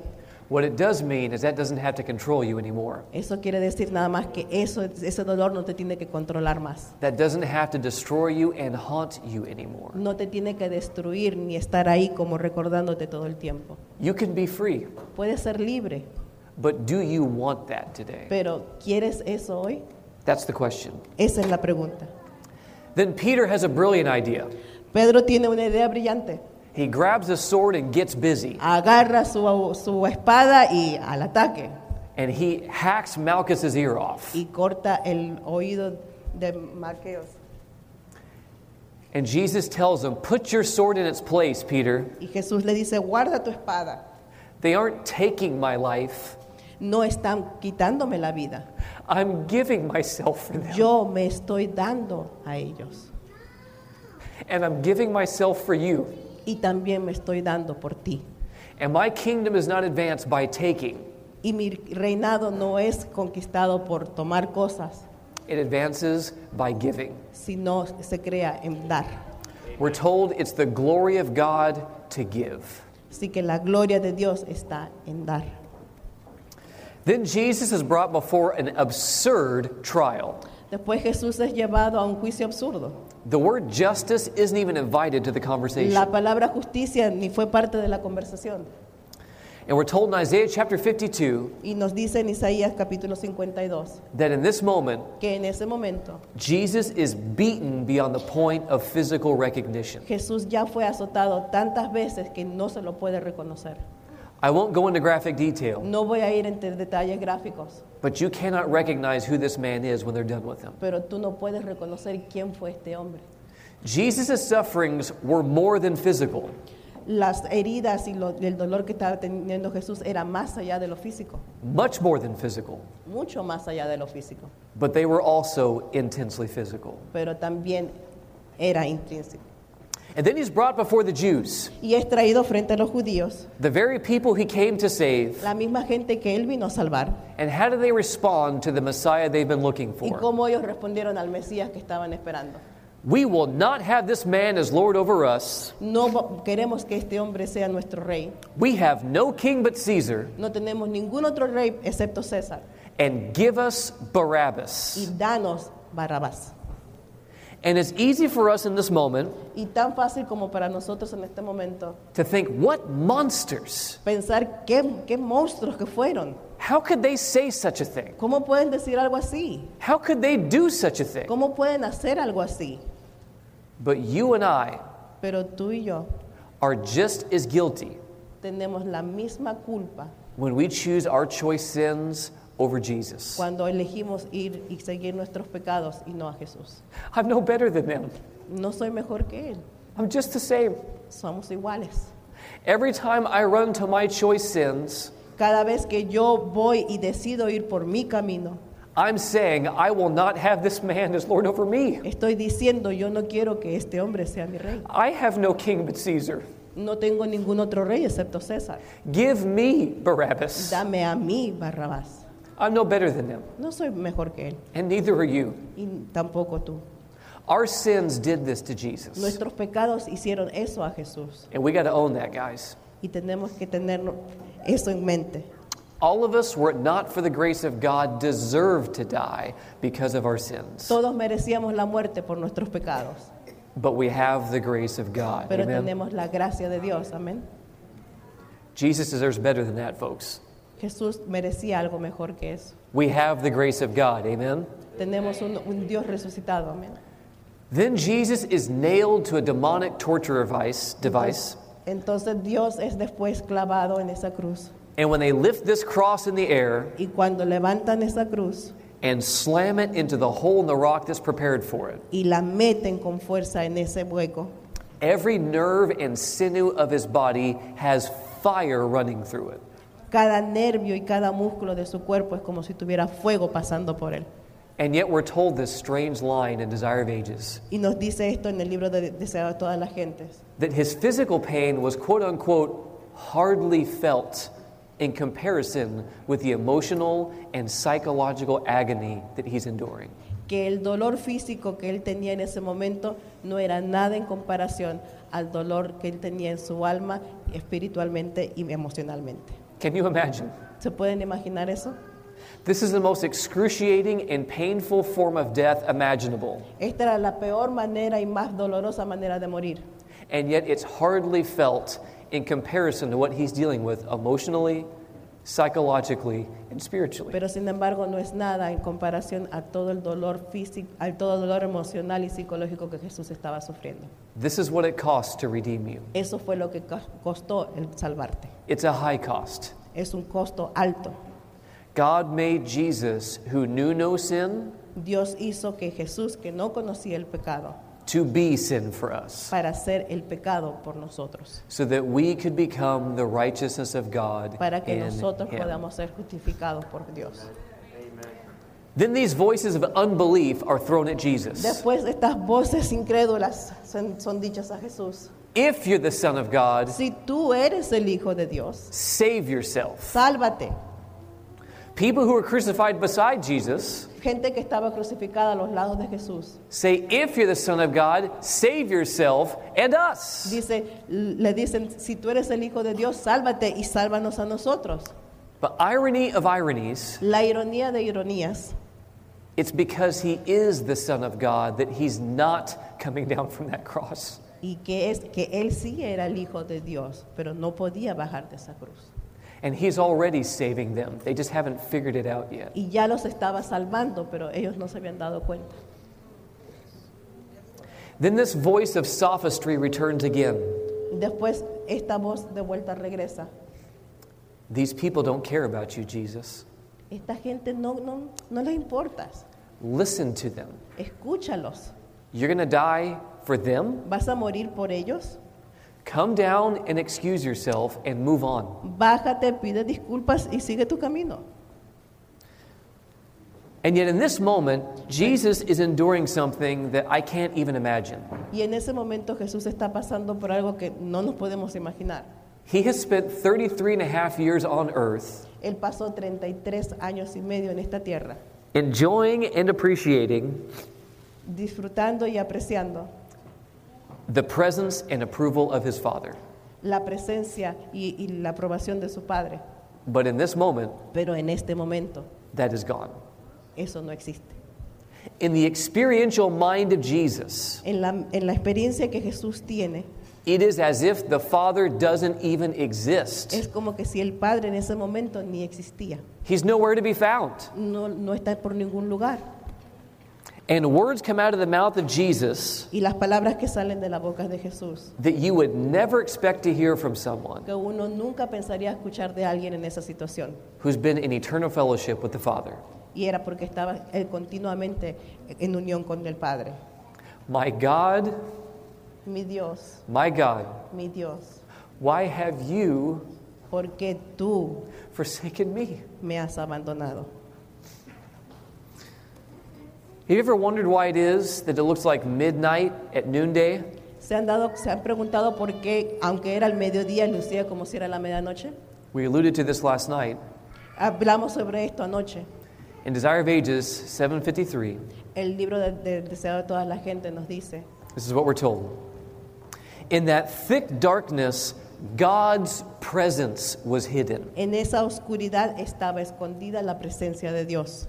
What it does mean is that doesn't have to control you anymore. Eso quiere decir nada más que eso, ese dolor no te tiene que controlar más. That doesn't have to destroy you and haunt you anymore. No te tiene que destruir ni estar ahí como recordándote todo el tiempo. You can be free, Puedes ser libre, but do you want that today? pero ¿quieres eso hoy? That's the question. Esa es la pregunta. Then Peter has a brilliant idea. Pedro tiene una idea brillante. He grabs a sword and gets busy, Agarra su, su espada y al ataque. and he hacks Malchus's ear off. Y corta el oído de Marqueos. And Jesus tells him, "Put your sword in its place, Peter. Y Jesús le dice, guarda tu espada. They aren't taking my life. No están quitándome la vida. I'm giving myself for them, Yo me estoy dando a ellos. and I'm giving myself for you. Y también me estoy dando por ti. And my kingdom is not advanced by taking. Y mi reinado no es conquistado por tomar cosas, It advances by giving." sino se crea en dar. We're told it's the glory of God to give. Así que la gloria de Dios está en dar. Then Jesus is brought before an absurd trial. Después Jesús es llevado a un juicio absurdo. The word justice isn't even invited to the conversation. La palabra justicia ni fue parte de la conversación. And we're told in Isaiah chapter 52 Y nos dice en Isaías capítulo 52 that in this moment, que en ese momento Jesus is beaten beyond the point of physical recognition. Jesús ya fue azotado tantas veces que no se lo puede reconocer. I won't go into graphic detail, No voy a ir en te- detalles gráficos, but you cannot recognize who this man is when they're done with him. pero tú no puedes reconocer quién fue este hombre. Jesus' sufferings were more than physical, Las heridas y lo- el dolor que estaba teniendo Jesús era más allá de lo físico, much more than physical, mucho más allá de lo físico, but they were also intensely physical. pero también era intrínseco. And then he's brought before the Jews, Y es traído frente a los judíos, the very people he came to save. la misma gente que él vino a salvar. And how do they respond to the Messiah they've been looking y for? cómo ellos respondieron al Mesías que estaban esperando. We will not have this man as Lord over us. No va- queremos que este hombre sea nuestro rey. We have no king but Caesar, No tenemos ningún otro rey excepto César. and give us Y Barabbas. danos Barrabás. And it's easy for us in this moment Y tan fácil como para nosotros en este momento to think, what monsters? pensar qué, qué monstruos que fueron. How could they say such a thing? ¿Cómo pueden decir algo así? How could they do such a thing? ¿Cómo pueden hacer algo así? But you and I Pero tú y yo are just as guilty tenemos la misma culpa when we choose our choice sins over Jesus. cuando elegimos ir y seguir nuestros pecados y no a Jesús. I'm no better than them. No soy mejor que Él. I'm just the same. Somos iguales. Every time I run to my choice sins, Cada vez que yo voy y decido ir por mi camino, I'm saying, I will not have this man as Lord over me. estoy diciendo yo no quiero que este hombre sea mi rey. I have no king but Caesar. No tengo ningún otro rey excepto César. Give me Barabbas. Dame a mí Barrabás. I'm no better than them, No soy mejor que él and neither are you. y tampoco tú. Our sins did this to Jesus, Nuestros pecados hicieron eso a Jesús and we got to own that, guys. y tenemos que tener eso en mente. All of us, were it not for the grace of God, deserve to die because of our sins. Todos merecíamos la muerte por nuestros pecados, But we have the grace of God. pero Amen. tenemos la gracia de Dios, amén. Jesus deserves better than that, folks. Jesús merecía algo mejor que eso. We have the grace of God. Amen. Tenemos un, un Dios resucitado, amén. Then Jesus is nailed to a demonic torture device, device. Entonces Dios es después clavado en esa cruz. And when they lift this cross in the air Y cuando levantan esa cruz and slam it into the hole in the rock that's prepared for it, y la meten con fuerza en ese hueco, every nerve and sinew of his body has fire running through it. cada nervio y cada músculo de su cuerpo es como si tuviera fuego pasando por él. And yet we're told this strange line in Desire of Ages Y nos dice esto en el libro de Deseado de todas las gentes, that his physical pain was quote unquote hardly felt in comparison with the emotional and psychological agony that he's enduring. que el dolor físico que él tenía en ese momento no era nada en comparación al dolor que él tenía en su alma espiritualmente y emocionalmente. Can you imagine? ¿Se pueden imaginar eso? This is the most excruciating and painful form of death imaginable. Esta era la peor manera y más dolorosa manera de morir. And yet it's hardly felt in comparison to what he's dealing with emotionally, psychologically, and spiritually. Pero sin embargo no es nada en comparación a todo el dolor físico, al todo el dolor emocional y psicológico que Jesús estaba sufriendo. This is what it costs to redeem you. Eso fue lo que cos- costó el salvarte. It's a high cost. Es un costo alto. God made Jesus, who knew no sin, Dios hizo que Jesús, que no conocía el pecado, to be sin for us, para hacer el pecado por nosotros, so that we could become the righteousness of God. para que in nosotros him. podamos ser justificados por Dios. Then these voices of unbelief are thrown at Jesus. Después estas voces incrédulas son, son dichas a Jesús. If you're the Son of God, Si tú eres el Hijo de Dios, save yourself. sálvate. People who were crucified beside Jesus Gente que estaba crucificada a los lados de Jesús. say, If you're the Son of God, save yourself and us. Dice, le dicen, si tú eres el Hijo de Dios, sálvate y sálvanos a nosotros. But irony of ironies, La ironía de ironías it's because he is the Son of God that he's not coming down from that cross. y que es que él sí era el Hijo de Dios, pero no podía bajar de esa cruz. And he's already saving them. They just haven't figured it out yet. Y ya los estaba salvando, pero ellos no se habían dado cuenta. Then this voice of sophistry returns again. Después esta voz de vuelta regresa. These people don't care about you, Jesus. Esta gente no, no, no les importas. Listen to them. Escúchalos. You're going to die for them? ¿Vas a morir por ellos? Come down and excuse yourself and move on. Bájate, pide disculpas y sigue tu camino. And yet, in this moment, Jesus is enduring something that I can't even imagine. Y en ese momento Jesús está pasando por algo que no nos podemos imaginar. He has spent 33 and a half years on earth Él pasó 33 años y medio en esta tierra, enjoying and appreciating disfrutando y apreciando the presence and approval of his Father. la presencia y, y la aprobación de su Padre. But in this moment, Pero en este momento that is gone. eso no existe. In the experiential mind of Jesus, En la, en la experiencia que Jesús tiene, it is as if the Father doesn't even exist. es como que si el Padre en ese momento ni existía, He's nowhere to be found. no, no está por ningún lugar. And words come out of the mouth of Jesus Y las palabras que salen de la boca de Jesús, that you would never expect to hear from someone que uno nunca pensaría escuchar de alguien en esa situación. who's been in eternal fellowship with the Father. Y era porque estaba eh, él continuamente en unión con el Padre. My God, mi Dios, My God, mi Dios, why have you porque tú forsaken me? me has abandonado. Have you ever wondered why it is that it looks like midnight at noonday? ¿Se han, dado, ¿Se han preguntado por qué, aunque era el mediodía, lucía como si era la medianoche? We alluded to this last night. Hablamos sobre esto anoche. In Desire of Ages 753, El libro de- del deseo de toda la gente nos dice, this is what we're told. In that thick darkness, God's presence was hidden. en esa oscuridad estaba escondida la presencia de Dios.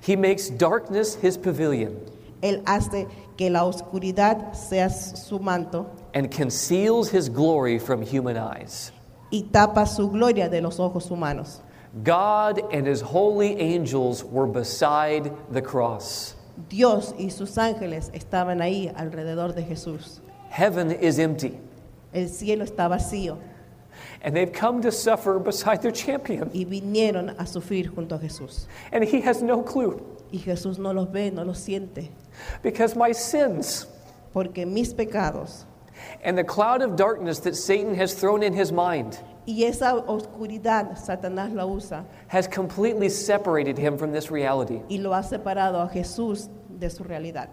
He makes darkness his pavilion Él hace que la oscuridad sea su manto and conceals his glory from human eyes. y tapa su gloria de los ojos humanos. God and his holy angels were beside the cross. Dios y sus ángeles estaban ahí alrededor de Jesús. Heaven is empty, El cielo está vacío and they've come to suffer beside their champion, y vinieron a sufrir junto a Jesús. and he has no clue. Y Jesús no los ve, no los siente, Because my sins porque mis pecados and the cloud of darkness that Satan has thrown in his mind y esa oscuridad Satanás la usa has completely separated him from this reality. y lo ha separado a Jesús de su realidad.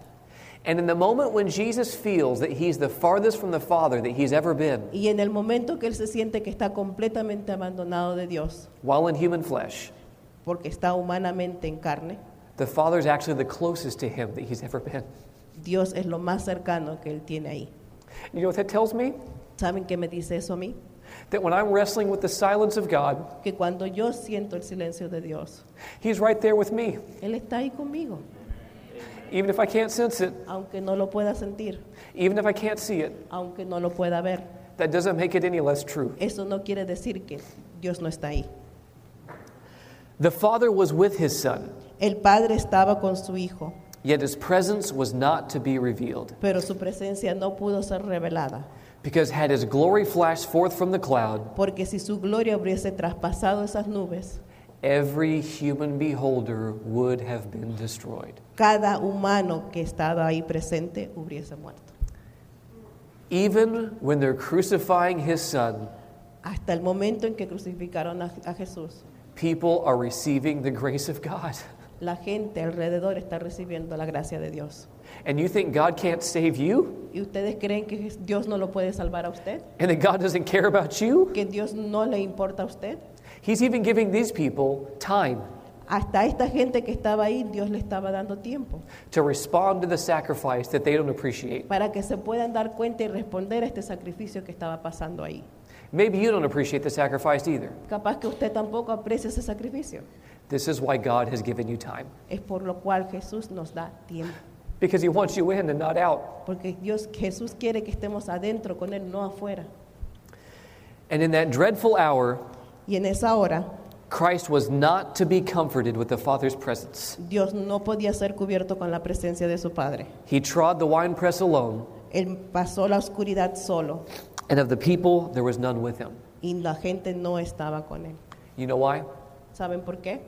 And in the moment when Jesus feels that he's the farthest from the Father that he's ever been, Y en el momento que él se siente que está completamente abandonado de Dios, while in human flesh, porque está humanamente en carne, the Father is actually the closest to him that he's ever been. Dios es lo más cercano que él tiene ahí. You know what that tells me? ¿Saben qué me dice eso a mí? That when I'm wrestling with the silence of God, Que cuando yo siento el silencio de Dios, he's right there with me, Él está ahí conmigo, even if I can't sense it, aunque no lo pueda sentir, even if I can't see it. aunque no lo pueda ver. That doesn't make it any less true. Eso no quiere decir que Dios no está ahí. The Father was with his Son, El Padre estaba con su Hijo, yet his presence was not to be revealed. pero su presencia no pudo ser revelada, Because had his glory flashed forth from the cloud, porque si su gloria hubiese traspasado esas nubes, every human beholder would have been destroyed. cada humano que estaba ahí presente hubiese muerto. Even when they're crucifying his son, Hasta el momento en que crucificaron a, a Jesús, people are receiving the grace of God. la gente alrededor está recibiendo la gracia de Dios. And you think God can't save you? ¿Y ustedes creen que Jes- Dios no lo puede salvar a usted? And that God doesn't care about you? ¿Que Dios no le importa a usted? He's even giving these people time Hasta esta gente que estaba ahí, Dios le estaba dando tiempo to respond to the sacrifice that they don't appreciate. para que se puedan dar cuenta y responder a este sacrificio que estaba pasando ahí. Maybe you don't appreciate the sacrifice either. Capaz que usted tampoco aprecia ese sacrificio. This is why God has given you time, Es por lo cual Jesús nos da tiempo. because He wants you in and not out. Porque Dios, Jesús quiere que estemos adentro con Él, no afuera. And in that dreadful hour, Y en esa hora, Christ was not to be comforted with the Father's presence. Dios no podía ser cubierto con la presencia de su Padre. He trod the winepress alone, Él pasó la oscuridad solo and of the people there was none with him. y la gente no estaba con Él. You know why? ¿Saben por qué?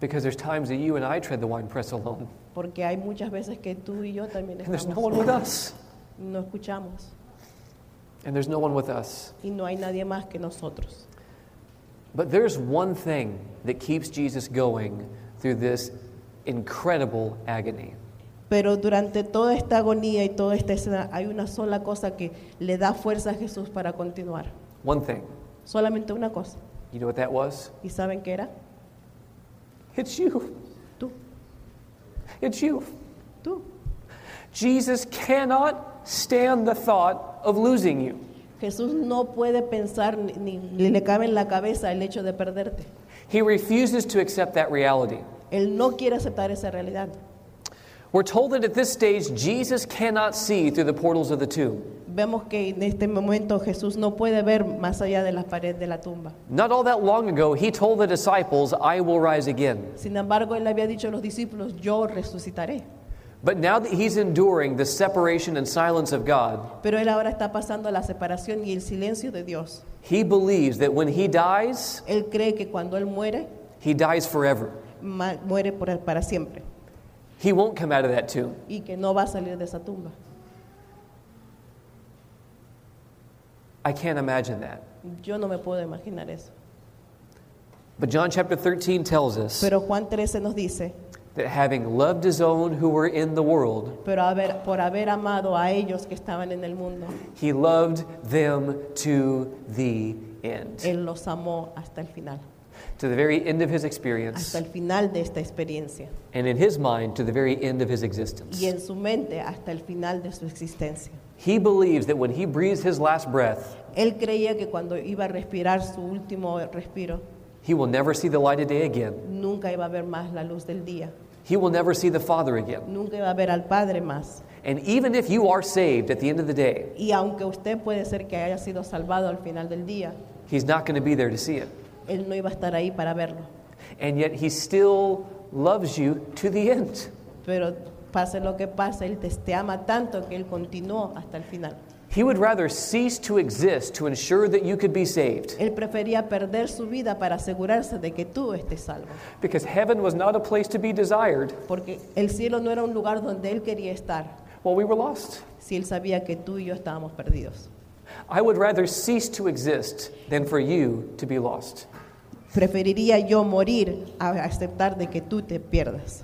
Because there's times that you and I tread the winepress alone, Porque hay muchas veces que tú y yo también and there's Pues no estamos, one with us. no escuchamos. And there's no one with us. y no hay nadie más que nosotros. But there's one thing that keeps Jesus going through this incredible agony. Pero durante toda esta agonía y toda esta escena hay una sola cosa que le da fuerza a Jesús para continuar. One thing. Solamente una cosa. You know what that was? ¿Y saben qué era? It's you. Tú, It's you. tú. Jesus cannot stand the thought of losing you. Jesús no puede pensar ni, ni- ni le cabe en la cabeza el hecho de perderte. He refuses to accept that reality. Él no quiere aceptar esa realidad. We're told that at this stage, Jesus cannot see through the portals of the tomb. Vemos que en este momento Jesús no puede ver más allá de las paredes de la tumba. Not all that long ago, he told the disciples, I will rise again. Sin embargo, él había dicho a los discípulos, yo resucitaré. But now that he's enduring the separation and silence of God, Pero él ahora está pasando la separación y el silencio de Dios. he believes that when he dies, Él cree que cuando él muere, he dies forever. ma- muere por- para siempre He won't come out of that tomb. y que no va a salir de esa tumba. I can't imagine that. Yo no me puedo imaginar eso. But John chapter 13 tells us Pero Juan 13 nos dice, that having loved his own who were in the world, pero haber- por haber amado a ellos que estaban en el mundo, he loved them to the end, Él los amó hasta el final, to the very end of his experience, hasta el final de esta experiencia and in his mind, to the very end of his existence. y en su mente hasta el final de su existencia. He believes that when he breathes his last breath, Él creía que cuando iba a respirar su último respiro, he will never see the light of day again. nunca iba a ver más la luz del día, He will never see the Father again. nunca iba a ver al Padre más. And even if you are saved at the end of the day, Y aunque usted puede ser que haya sido salvado al final del día, he's not going to be there to see it. Él no iba a estar ahí para verlo. And yet he still loves you to the end. Pero pase lo que pase, Él te, te ama tanto que Él continuó hasta el final. He would rather cease to exist to ensure that you could be saved Él prefería perder su vida para asegurarse de que tú estés salvo. because heaven was not a place to be desired Porque el cielo no era un lugar donde Él quería estar while we were lost. si Él sabía que tú y yo estábamos perdidos. I would rather cease to exist than for you to be lost. Preferiría yo morir a aceptar de que tú te pierdas.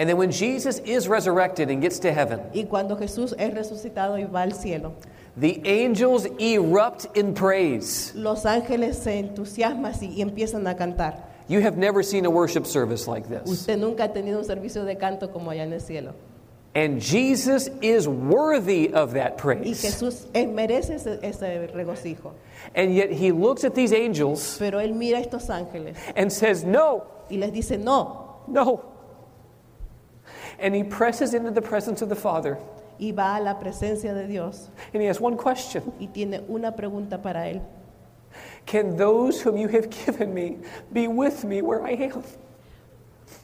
And then when Jesus is resurrected and gets to heaven, Y cuando Jesús es resucitado y va al cielo, The angels erupt in praise. los ángeles se entusiasman y y empiezan a cantar. You have never seen a worship service like this. Usted nunca ha tenido un servicio de canto como allá en el cielo. And Jesus is worthy of that Y praise. Jesús eh, merece ese, ese regocijo. And yet he looks at these angels Pero Él mira a estos ángeles and says, No, y les dice, no, no. And he presses into the presence of the Father y va a la presencia de Dios and he has one question y tiene una pregunta para él. Can those whom you have given me be with me where I am?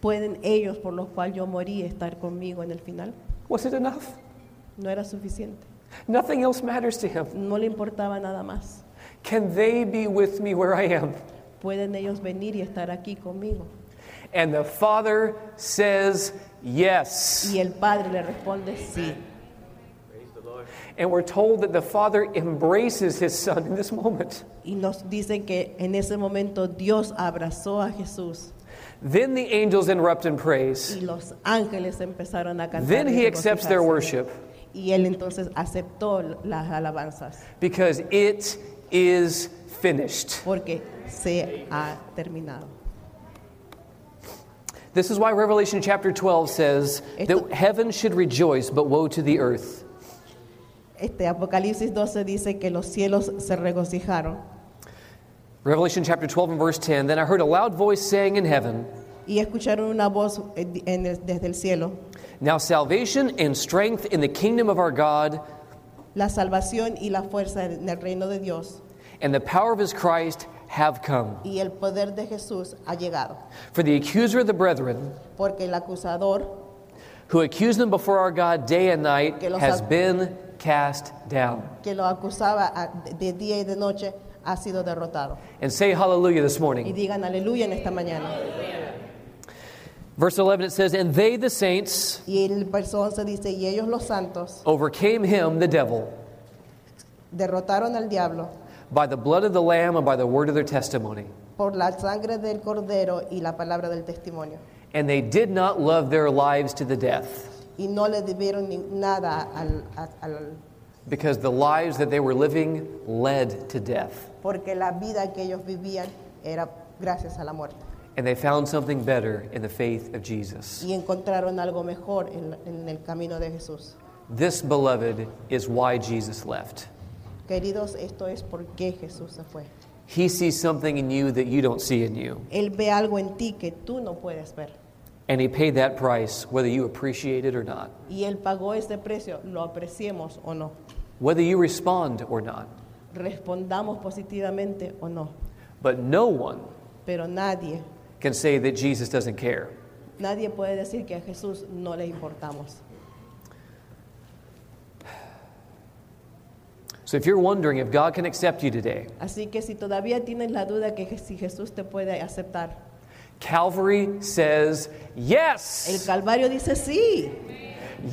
¿Pueden ellos por los cuales yo morí estar conmigo en el final? Was it enough? No era suficiente. Nothing else matters to him. No le importaba nada más. Can they be with me where I am? ¿Pueden ellos venir y estar aquí conmigo? And the father says yes. Y el padre le responde sí. And we're told that the father embraces his son in this moment. Y nos dicen que en ese momento Dios abrazó a Jesús Then the angels interrupt in praise. y los ángeles empezaron a cantar. Then y he accepts their regocijarse. worship Y él entonces aceptó las alabanzas because it is finished. porque se ha terminado. This is why Revelation chapter 12 says Esto- that heaven should rejoice, but woe to the earth. Este Apocalipsis 12 dice que los cielos se regocijaron Revelation chapter 12 and verse 10 Then I heard a loud voice saying in heaven, y escucharon una voz en- en el- desde el cielo. Now salvation and strength in the kingdom of our God La salvación y la fuerza en el reino de Dios and the power of his Christ have come. y el poder de Jesús ha llegado, For the accuser of the brethren, porque el acusador who accused them before our God day and night, Que los has ac- been cast down. que lo acusaba a- de día y de noche ha sido derrotado. And say hallelujah this Y morning. digan aleluya en esta mañana. Verse 11 it says, And they, the saints, Y el verso 11 dice, y ellos los santos overcame him, the devil, derrotaron al diablo by the blood of the Lamb and by the word of their testimony. por la sangre del cordero y la palabra del testimonio. And they did not love their lives to the death, y no le debieron ni- nada al, a- al- because the lives that they were living led to death. porque la vida que ellos vivían era gracias a la muerte And they found something better in the faith of Jesus. y encontraron algo mejor en, en el camino de Jesús. This, beloved, is why Jesus left. Queridos, esto es por qué Jesús se fue. He sees something in you that you don't see in you. Él ve algo en ti que tú no puedes ver And he paid that price, whether you appreciate it or not, y él pagó ese precio, lo apreciemos o no, whether you respond or not. respondamos positivamente o no, But no one pero nadie, can say that Jesus doesn't care. nadie puede decir que a Jesús no le importamos. So if you're wondering if God can accept you today, Así que si todavía tienes la duda que si Jesús te puede aceptar, Calvary says El yes, Calvario dice sí,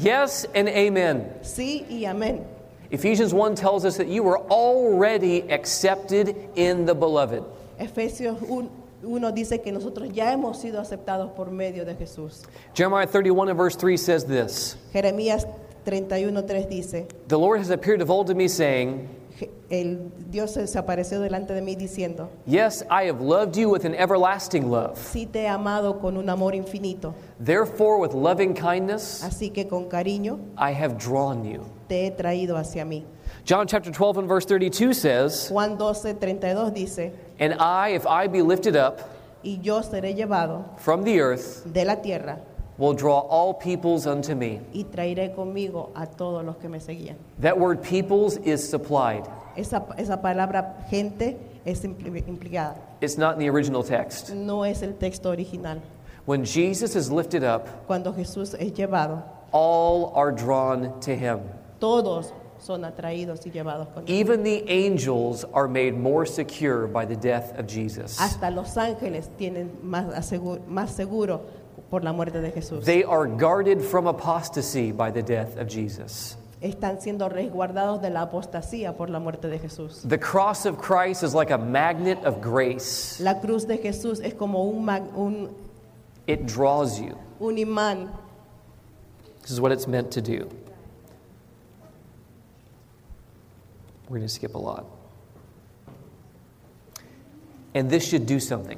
yes, and amen. sí y amén. Ephesians 1 tells us that you were already accepted in the beloved. Efesios 1 dice que nosotros ya hemos sido aceptados por medio de Jesús. Jeremiah 31 and verse 3 says this Jeremías 31.3 dice, The Lord has appeared of old to me, saying, Je- el Dios se apareció delante de mí diciendo, Yes, I have loved you with an everlasting love. sí te he amado con un amor infinito, Therefore, with loving kindness, así que con cariño I have drawn you. te he traído hacia mí. John chapter 12 and verse 32 says, Juan 12.32 dice, And I, if I be lifted up y yo seré llevado from the earth, de la tierra will draw all peoples unto me. y traeré conmigo a todos los que me seguían. That word peoples is supplied. Esa, esa palabra gente es impli- implicada, It's not in the original text. no es el texto original. When Jesus is lifted up, Cuando Jesús es llevado, all are drawn to him. todos son atraídos y llevados con él. Even the angels are made more secure by the death of Jesus. Hasta los ángeles tienen más, asegu- más seguro por la muerte de Jesús. They are guarded from apostasy by the death of Jesus. Están siendo resguardados de la apostasía por la muerte de Jesús. The cross of Christ is like a magnet of grace, La cruz de Jesús es como un, mag- un, it draws you. un imán. This is what it's meant to do. We're going to skip a lot. And this should do something.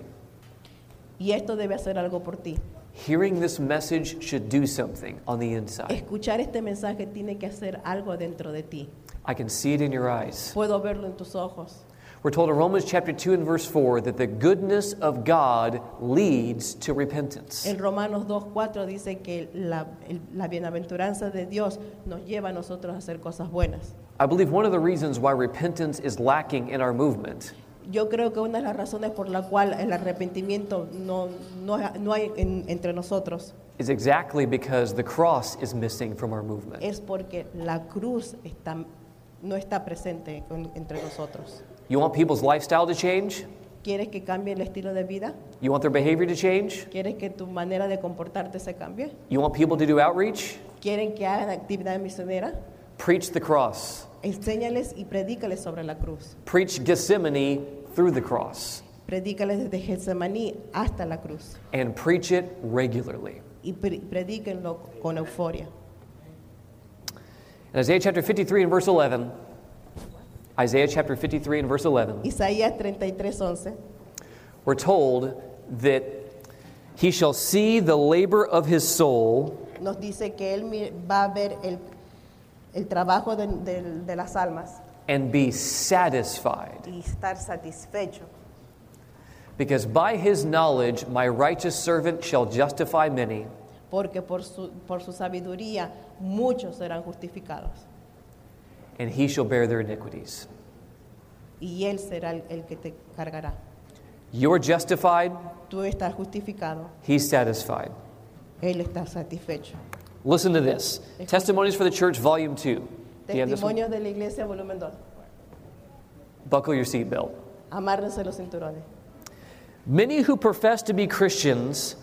Y esto debe hacer algo por ti. Hearing this message should do something on the inside. Escuchar este mensaje tiene que hacer algo dentro de ti. I can see it in your eyes. Puedo verlo en tus ojos. We're told in Romans chapter 2 and verse 4 that the goodness of God leads to repentance. En Romanos 2.4 dice que la, el- la bienaventuranza de Dios nos lleva a nosotros a hacer cosas buenas. I believe one of the reasons why repentance is lacking in our movement Yo creo que una de las razones por la cual el arrepentimiento no, no, no hay en- entre nosotros is exactly because the cross is missing from our movement. es porque la cruz está, no está presente con- entre nosotros. You want people's lifestyle to change? ¿Quieres que cambie el estilo de vida? You want their behavior to change? ¿Quieres que tu manera de comportarte se cambie? You want people to do outreach? ¿Quieren que hagan actividad misionera? Preach the cross. Enséñales y predícales sobre la cruz. Preach Gethsemane through the cross. Predícales desde Getsemaní hasta la cruz. And preach it regularly. Y pre- predíquenlo con euforia. In Isaiah chapter 53 and verse 11, Isaiah chapter 53 and verse 11, Isaías 33:11 we're told that he shall see the labor of his soul nos dice que Él mi- va a ver el, el trabajo de, de- de las almas and be satisfied, y estar satisfecho. because by his knowledge my righteous servant shall justify many, Porque por su, por su sabiduría muchos serán justificados. and he shall bear their iniquities. Y Él será el, el que te cargará. You're justified, Tú estás justificado, he's satisfied. Él está satisfecho. Listen to this Testimonies for the Church, Volume 2. Do you have this one? Testimonios de la Iglesia, volumen 2. Buckle your seatbelt. Amárrense los cinturones. Many who profess to be Christians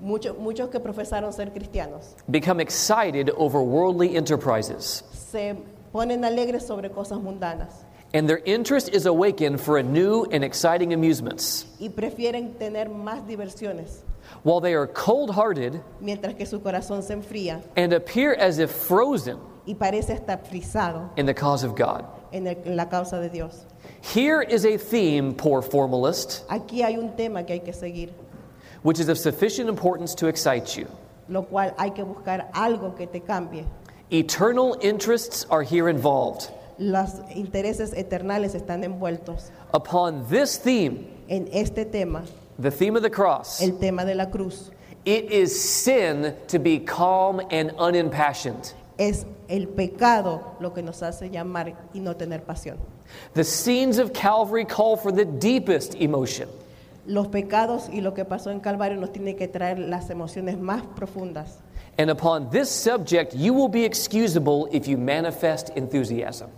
Muchos, muchos que profesaron ser cristianos become excited over worldly enterprises, se ponen alegres sobre cosas mundanas and their interest is awakened for a new and exciting amusements. y prefieren tener más diversiones, While they are cold hearted mientras que su corazón se enfría and appear as if frozen y parece estar frisado in the cause of God. en, el- en la causa de Dios. Here is a theme, poor formalist, Aquí hay un tema que hay que seguir, which is of sufficient importance to excite you. lo cual hay que buscar algo que te cambie. Eternal interests are here involved. Los intereses eternales están envueltos Upon this theme, en este tema, The theme of the cross. el tema de la cruz. It is sin to be calm and unimpassioned. Es el pecado lo que nos hace llamar y no tener pasión. The scenes of Calvary call for the deepest emotion. Los pecados y lo que pasó en Calvario nos tiene que traer las emociones más profundas. And upon this subject, you will be excusable if you manifest enthusiasm.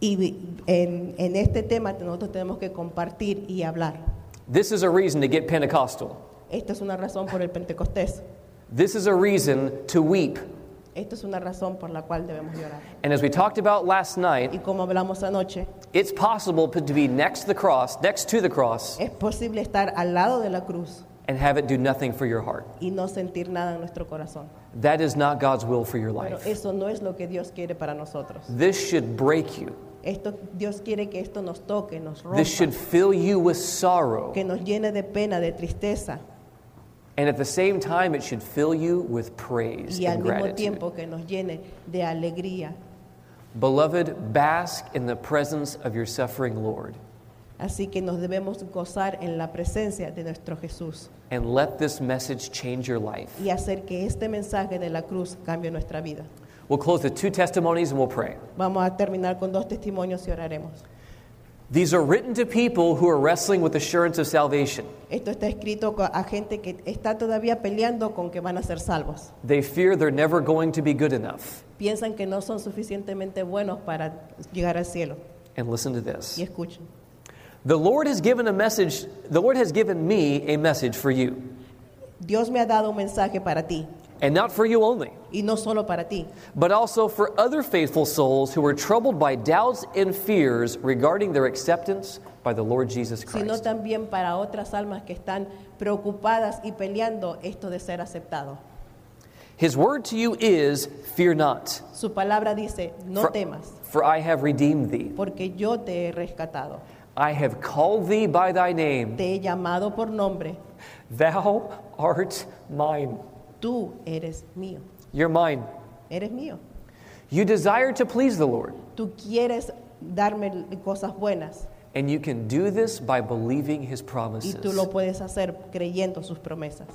Y vi- en, en este tema nosotros tenemos que compartir y hablar. This is a reason to get Pentecostal. Esta es una razón por el Pentecostés. This is a reason to weep. Esto es una razón por la cual debemos llorar. And as we talked about last Y night, como hablamos anoche, it's possible to be next to the cross, next to the cross, es posible estar al lado de la cruz and have it do nothing for your heart. y no sentir nada en nuestro corazón. That is not God's will for your Pero life. eso no es lo que Dios quiere para nosotros. This should break you. Esto, Dios quiere que esto nos toque, nos rompa, This should fill you with sorrow. que nos llene de pena, de tristeza And at the same time, it should fill you with praise y al and mismo gratitude. tiempo que nos llene de alegría. Beloved, bask in the presence of your suffering Lord Así que nos debemos gozar en la presencia de nuestro Jesús and let this message change your life. y hacer que este mensaje de la cruz cambie nuestra vida. We'll close with two testimonies and we'll pray. Vamos a terminar con dos testimonios y oraremos. These are written to people who are wrestling with assurance of salvation. Esto está escrito co- a gente que está todavía peleando con que van a ser salvos. They fear they're never going to be good enough. Piensan que no son suficientemente buenos para llegar al cielo. And listen to this. Y escuchen. The Lord has given a message, the Lord has given me a message for you, Dios me ha dado un mensaje para ti and not for you only, y no solo para ti, but also for other faithful souls who are troubled by doubts and fears regarding their acceptance by the Lord Jesus sino Christ. también para otras almas que están preocupadas y peleando esto de ser aceptado. His word to you is, Fear not, Su palabra dice, no for, temas, for I have redeemed thee. porque yo te he rescatado, I have called thee by thy name. te he llamado por nombre, Thou art mine. tú eres mío, You're mine. eres mío. You desire to please the Lord, Tú quieres darme cosas buenas and you can do this by believing his y promises. tú lo puedes hacer creyendo sus promesas.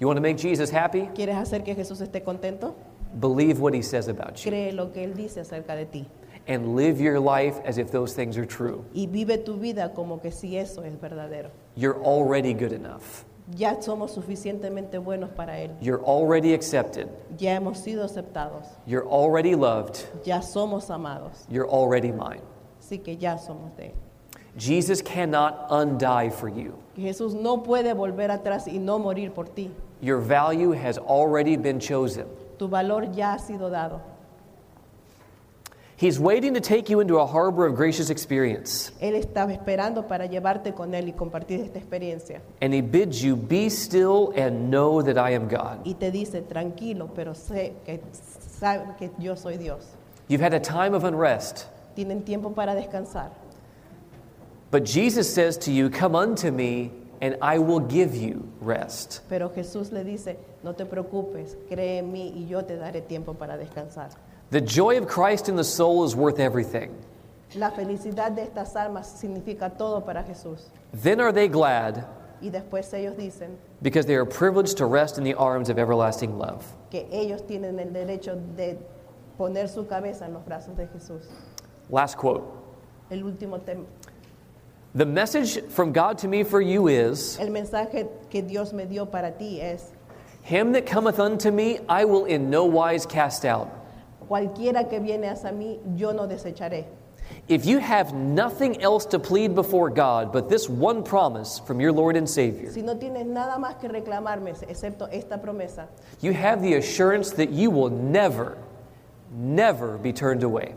You want to make Jesus happy? ¿Quieres hacer que Jesús esté contento? Believe what he says about you Cree lo que Él dice acerca de ti and live your life as if those things are true. y vive tu vida como que si eso es verdadero. You're already good enough. Ya somos suficientemente buenos para Él. You're already accepted. Ya hemos sido aceptados. You're already loved. Ya somos amados. You're already mine. Así que ya somos de Él. Jesus cannot undie for you. Jesús no puede volver atrás y no morir por ti. Your value has already been chosen. Tu valor ya ha sido dado. He's waiting to take you into a harbor of gracious experience, Él estaba esperando para llevarte con Él y compartir esta experiencia. and he bids you be still and know that I am God. Y te dice, tranquilo, pero sé que, sabe que yo soy Dios. You've had a time of unrest, Tienen tiempo para descansar. but Jesus says to you, Come unto me, and I will give you rest. Pero Jesús le dice, no te preocupes, cree en mí y yo te daré tiempo para descansar. The joy of Christ in the soul is worth everything. La felicidad de estas almas significa todo para Jesús. Then are they glad Y después ellos dicen because they are privileged to rest in the arms of everlasting love. que ellos tienen el derecho de poner su cabeza en los brazos de Jesús. Last quote El último tema. The message from God to me for you is El mensaje que Dios me dio para ti es, Him that cometh unto me, I will in no wise cast out. cualquiera que viene hacia mí, yo no desecharé. If you have nothing else to plead before God but this one promise from your Lord and Savior, Si no tienes nada más que reclamarme, excepto esta promesa, you have the assurance that you will never, never be turned away.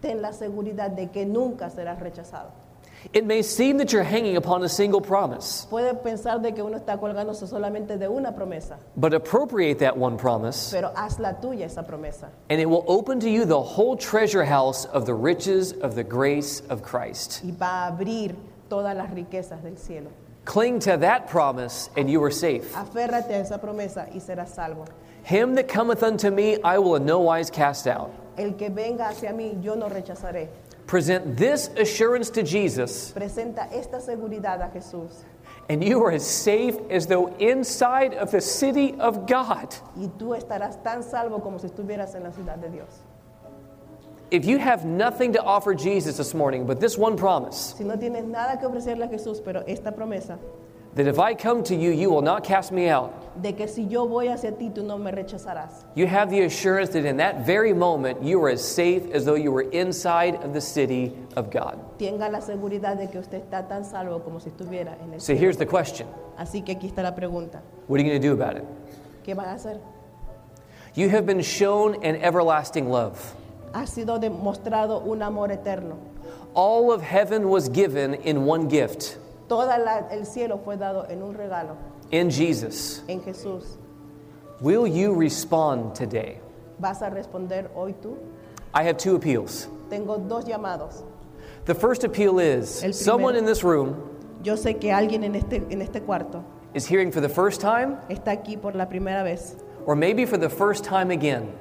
ten la seguridad de que nunca serás rechazado. It may seem that you're hanging upon a single promise, Puedes pensar de que uno está colgándose solamente de una promesa, but appropriate that one promise, pero haz la tuya esa promesa. and it will open to you the whole treasure house of the riches of the grace of Christ. y va a abrir todas las riquezas del cielo. Cling to that promise, and you are safe. Aférrate a esa promesa y serás salvo. Him that cometh unto me, I will in no wise cast out. El que venga hacia mí, yo no rechazaré. Present this assurance to Jesus. Presenta esta seguridad a Jesús And you are as safe as though inside of the city of God. y tú estarás tan salvo como si estuvieras en la ciudad de Dios. If you have nothing to offer Jesus this morning but this one promise Si no tienes nada que ofrecerle a Jesús, pero esta promesa that if I come to you, you will not cast me out, de que si yo voy hacia ti, tú no me rechazarás. you have the assurance that in that very moment you are as safe as though you were inside of the city of God. Tenga la seguridad de que usted está tan salvo como si estuviera en el So cielo. here's the question Así que aquí está la pregunta. What are you going to do about it? ¿Qué vas a hacer? You have been shown an everlasting love. Ha sido demostrado un amor eterno. All of heaven was given in one gift, Todo el cielo fue dado en un regalo, in Jesus. en Jesús. Will you respond today? ¿Vas a responder hoy tú? I have two appeals. Tengo dos llamados. The first appeal is El primero. someone in this room Yo sé que alguien en este, en este cuarto is hearing for the first time, está aquí por la primera vez or maybe for the first time again,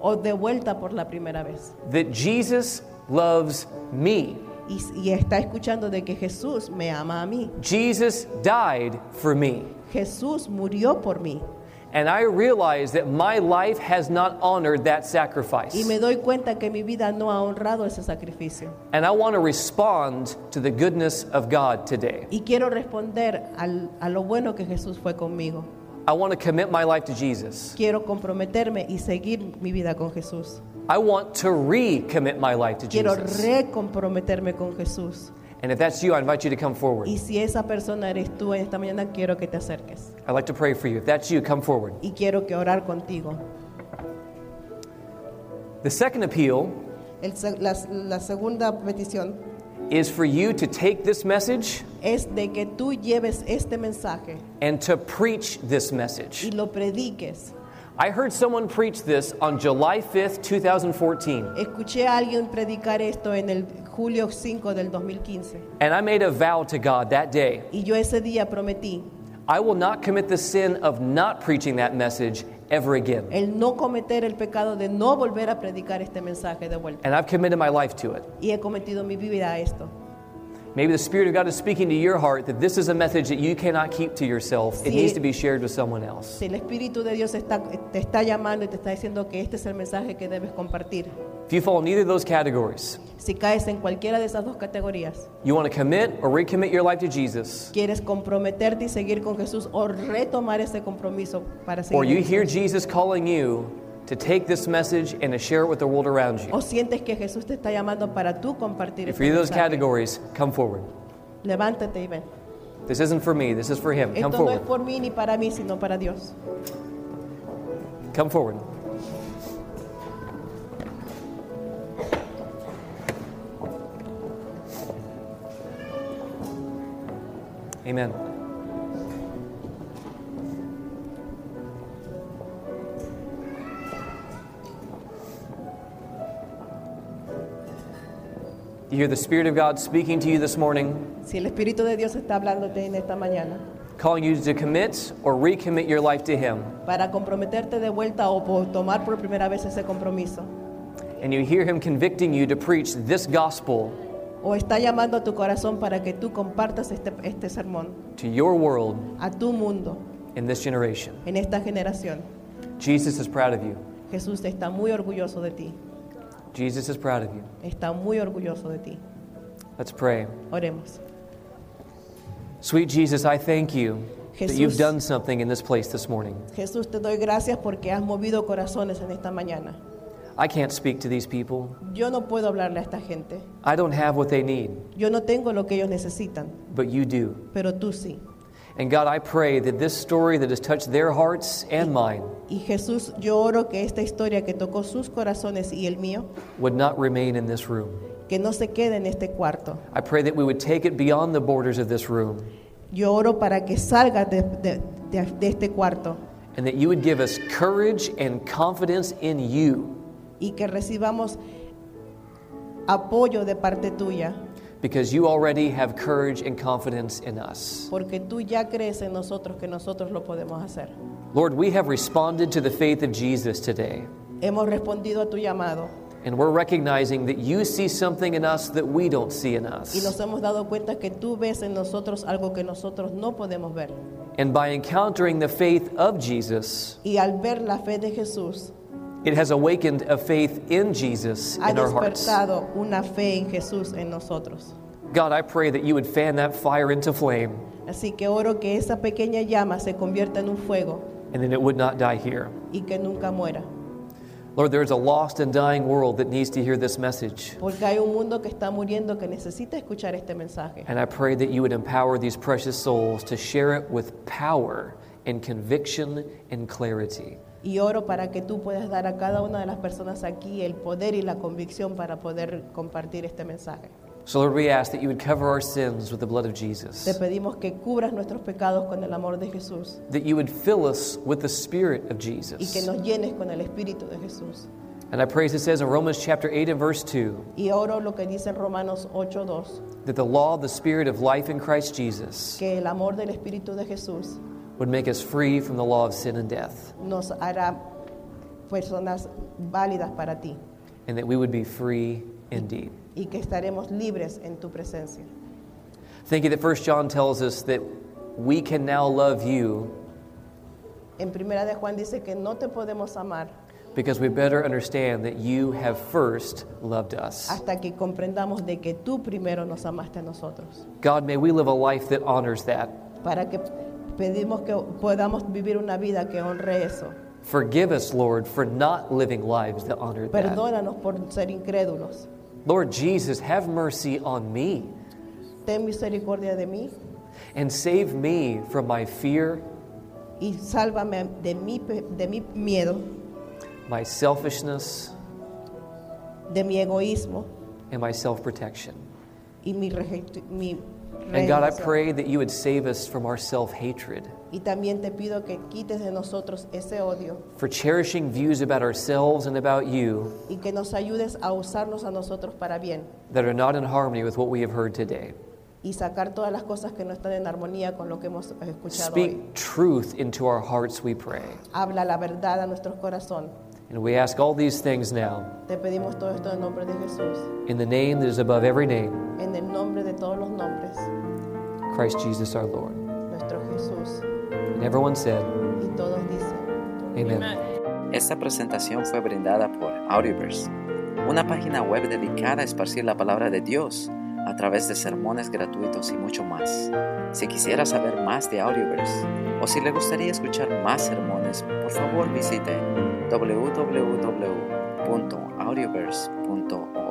o de vuelta por la primera vez that Jesus loves me. y, y está escuchando de que Jesús me ama a mí. Jesus died for me. Jesús murió por mí And I realize that my life has not honored that sacrifice. y me doy cuenta que mi vida no ha honrado ese sacrificio. And I want to respond to the goodness of God today. Y quiero responder al- a lo bueno que Jesús fue conmigo. I want to commit my life to Jesus. Quiero comprometerme y seguir mi vida con Jesús. I want to recommit my life to Quiero Jesus. recomprometerme con Jesús. And if that's you, I invite you to come forward. Y si esa persona eres tú en esta mañana, quiero que te acerques. I'd like to pray for you. If that's you, come forward. Y quiero que orar contigo. The second appeal El se- la, la segunda petición is for you to take this message es de que tú lleves este mensaje and to preach this y message. lo prediques. I heard someone preach this on July 5th, 2014, Escuché a alguien predicar esto en el julio 5 del 2015 and I made a vow to God that day. y yo ese día prometí I will not commit the sin of not preaching that message ever again. el no cometer el pecado de no volver a predicar este mensaje de vuelta. And I've committed my life to it. Y he cometido mi vida a esto. Maybe the Spirit of God is speaking to your heart that this is a message that you cannot keep to yourself. It Sí. needs to be shared with someone else. Si el Espíritu de Dios está- te está llamando y te está diciendo que este es el mensaje que debes compartir, If you fall in either of those categories, si caes en cualquiera de esas dos categorías, you want to commit or recommit your life to Jesus, quieres comprometerte y seguir con Jesús o retomar ese compromiso para or you seguir. hear Jesus calling you to take this message and to share it with the world around you. O sientes que Jesús te está llamando para tú compartir If este you're either of those mensaje. categories, come forward. Levántate y ven. This isn't for me, this is for Him. Come Esto no es forward. por mí ni para mí, sino para Dios. Come forward. Amen. You hear the Spirit of God speaking to you this morning, Si el Espíritu de Dios está hablándote en esta mañana calling you to commit or recommit your life to Him, para comprometerte de vuelta o por tomar por primera vez ese compromiso, and you hear Him convicting you to preach this gospel o está llamando a tu corazón para que tú compartas este, este sermón to your world a tu mundo, in this generation. en esta generación, Jesus is proud of you. Jesús está muy orgulloso de ti. Jesus is proud of you. Está muy orgulloso de ti. Let's pray. Oremos. Sweet Jesus, I thank you that you've Jesús. done something in this place this morning. Jesús, te doy gracias porque has movido corazones en esta mañana. I can't speak to these people. Yo no puedo hablarle a esta gente. I don't have what they need, Yo no tengo lo que ellos necesitan, but you do. pero tú sí. And God, I pray that this story that has touched their hearts and mine Y Jesús, yo oro que esta historia que tocó sus corazones y el mío, would not remain in this room. que no se quede en este cuarto. I pray that we would take it beyond the borders of this room Yo oro para que salgas de, de- de- de este cuarto and that you would give us courage and confidence in you y que recibamos apoyo de parte tuya, because you already have courage and confidence in us. porque tú ya crees en nosotros que nosotros lo podemos hacer. Lord, we have responded to the faith of Jesus today, Hemos respondido a tu llamado and we're recognizing that you see something in us that we don't see in y nos us. hemos dado cuenta que tú ves en nosotros algo que nosotros no podemos ver. And by encountering the faith of Jesus, Y al ver la fe de Jesús, it has awakened a faith in Jesus ha in our hearts. despertado una fe en Jesús en nosotros. God, I pray that you would fan that fire into flame Así que oro que esa pequeña llama se convierta en un fuego and that it would not die here. y que nunca muera, Lord, there is a lost and dying world that needs to hear this message. porque hay un mundo que está muriendo que necesita escuchar este mensaje. And I pray that you would empower these precious souls to share it with power and conviction and clarity. Y oro para que tú puedas dar a cada una de las personas aquí el poder y la convicción para poder compartir este mensaje. So, Lord, we ask that you would cover our sins with the blood of Te Jesus, pedimos que cubras nuestros pecados con el amor de Jesús that you would fill us with the Spirit of y que Jesus. nos llenes con el Espíritu de Jesús. And I praise it says in Romans chapter 8 and verse 2 Y oro lo que dice en Romanos 8:2, that the law of the Spirit of life in Christ Jesus que el amor del Espíritu de Jesús would make us free from the law of sin and death, nos hará personas válidas para ti and that we would be free indeed. y que estaremos libres en tu presencia. Thank you that First John tells us that we can now love you En primera de Juan dice que no te podemos amar because we better understand that you have first loved us. hasta que comprendamos de que tú primero nos amaste a nosotros. God, may we live a life that honors that. Para que pedimos que podamos vivir una vida que honre eso. Forgive us, Lord, for not living lives that honor that. Perdónanos por ser incrédulos. Lord Jesus, have mercy on me Ten misericordia de mí and save me from my fear, y sálvame de mi, pe- de mi miedo, my selfishness, de mi egoísmo and my self protection. y mi, reject- mi And God, I renuncia. pray that you would save us from our self hatred, Y también te pido que quites de nosotros ese odio for cherishing views about ourselves and about you y que nos ayudes a usarnos a nosotros para bien that are not in harmony with what we have heard today. y sacar todas las cosas que no están en armonía con lo que hemos escuchado hoy. Speak truth into our hearts, we pray. Habla la verdad a nuestro corazón. And we ask all these things now Te pedimos todo esto en nombre de Jesús, in the name that is above every name, en el nombre de todos los nombres, Christ Jesus our Lord. nuestro Jesús. And everyone said, Y todos dicen, Amen. Esta presentación fue brindada por Audioverse, una página web dedicada a esparcir la palabra de Dios a través de sermones gratuitos y mucho más. Si quisiera saber más de Audioverse o si le gustaría escuchar más sermones, por favor visite www.audioverse.org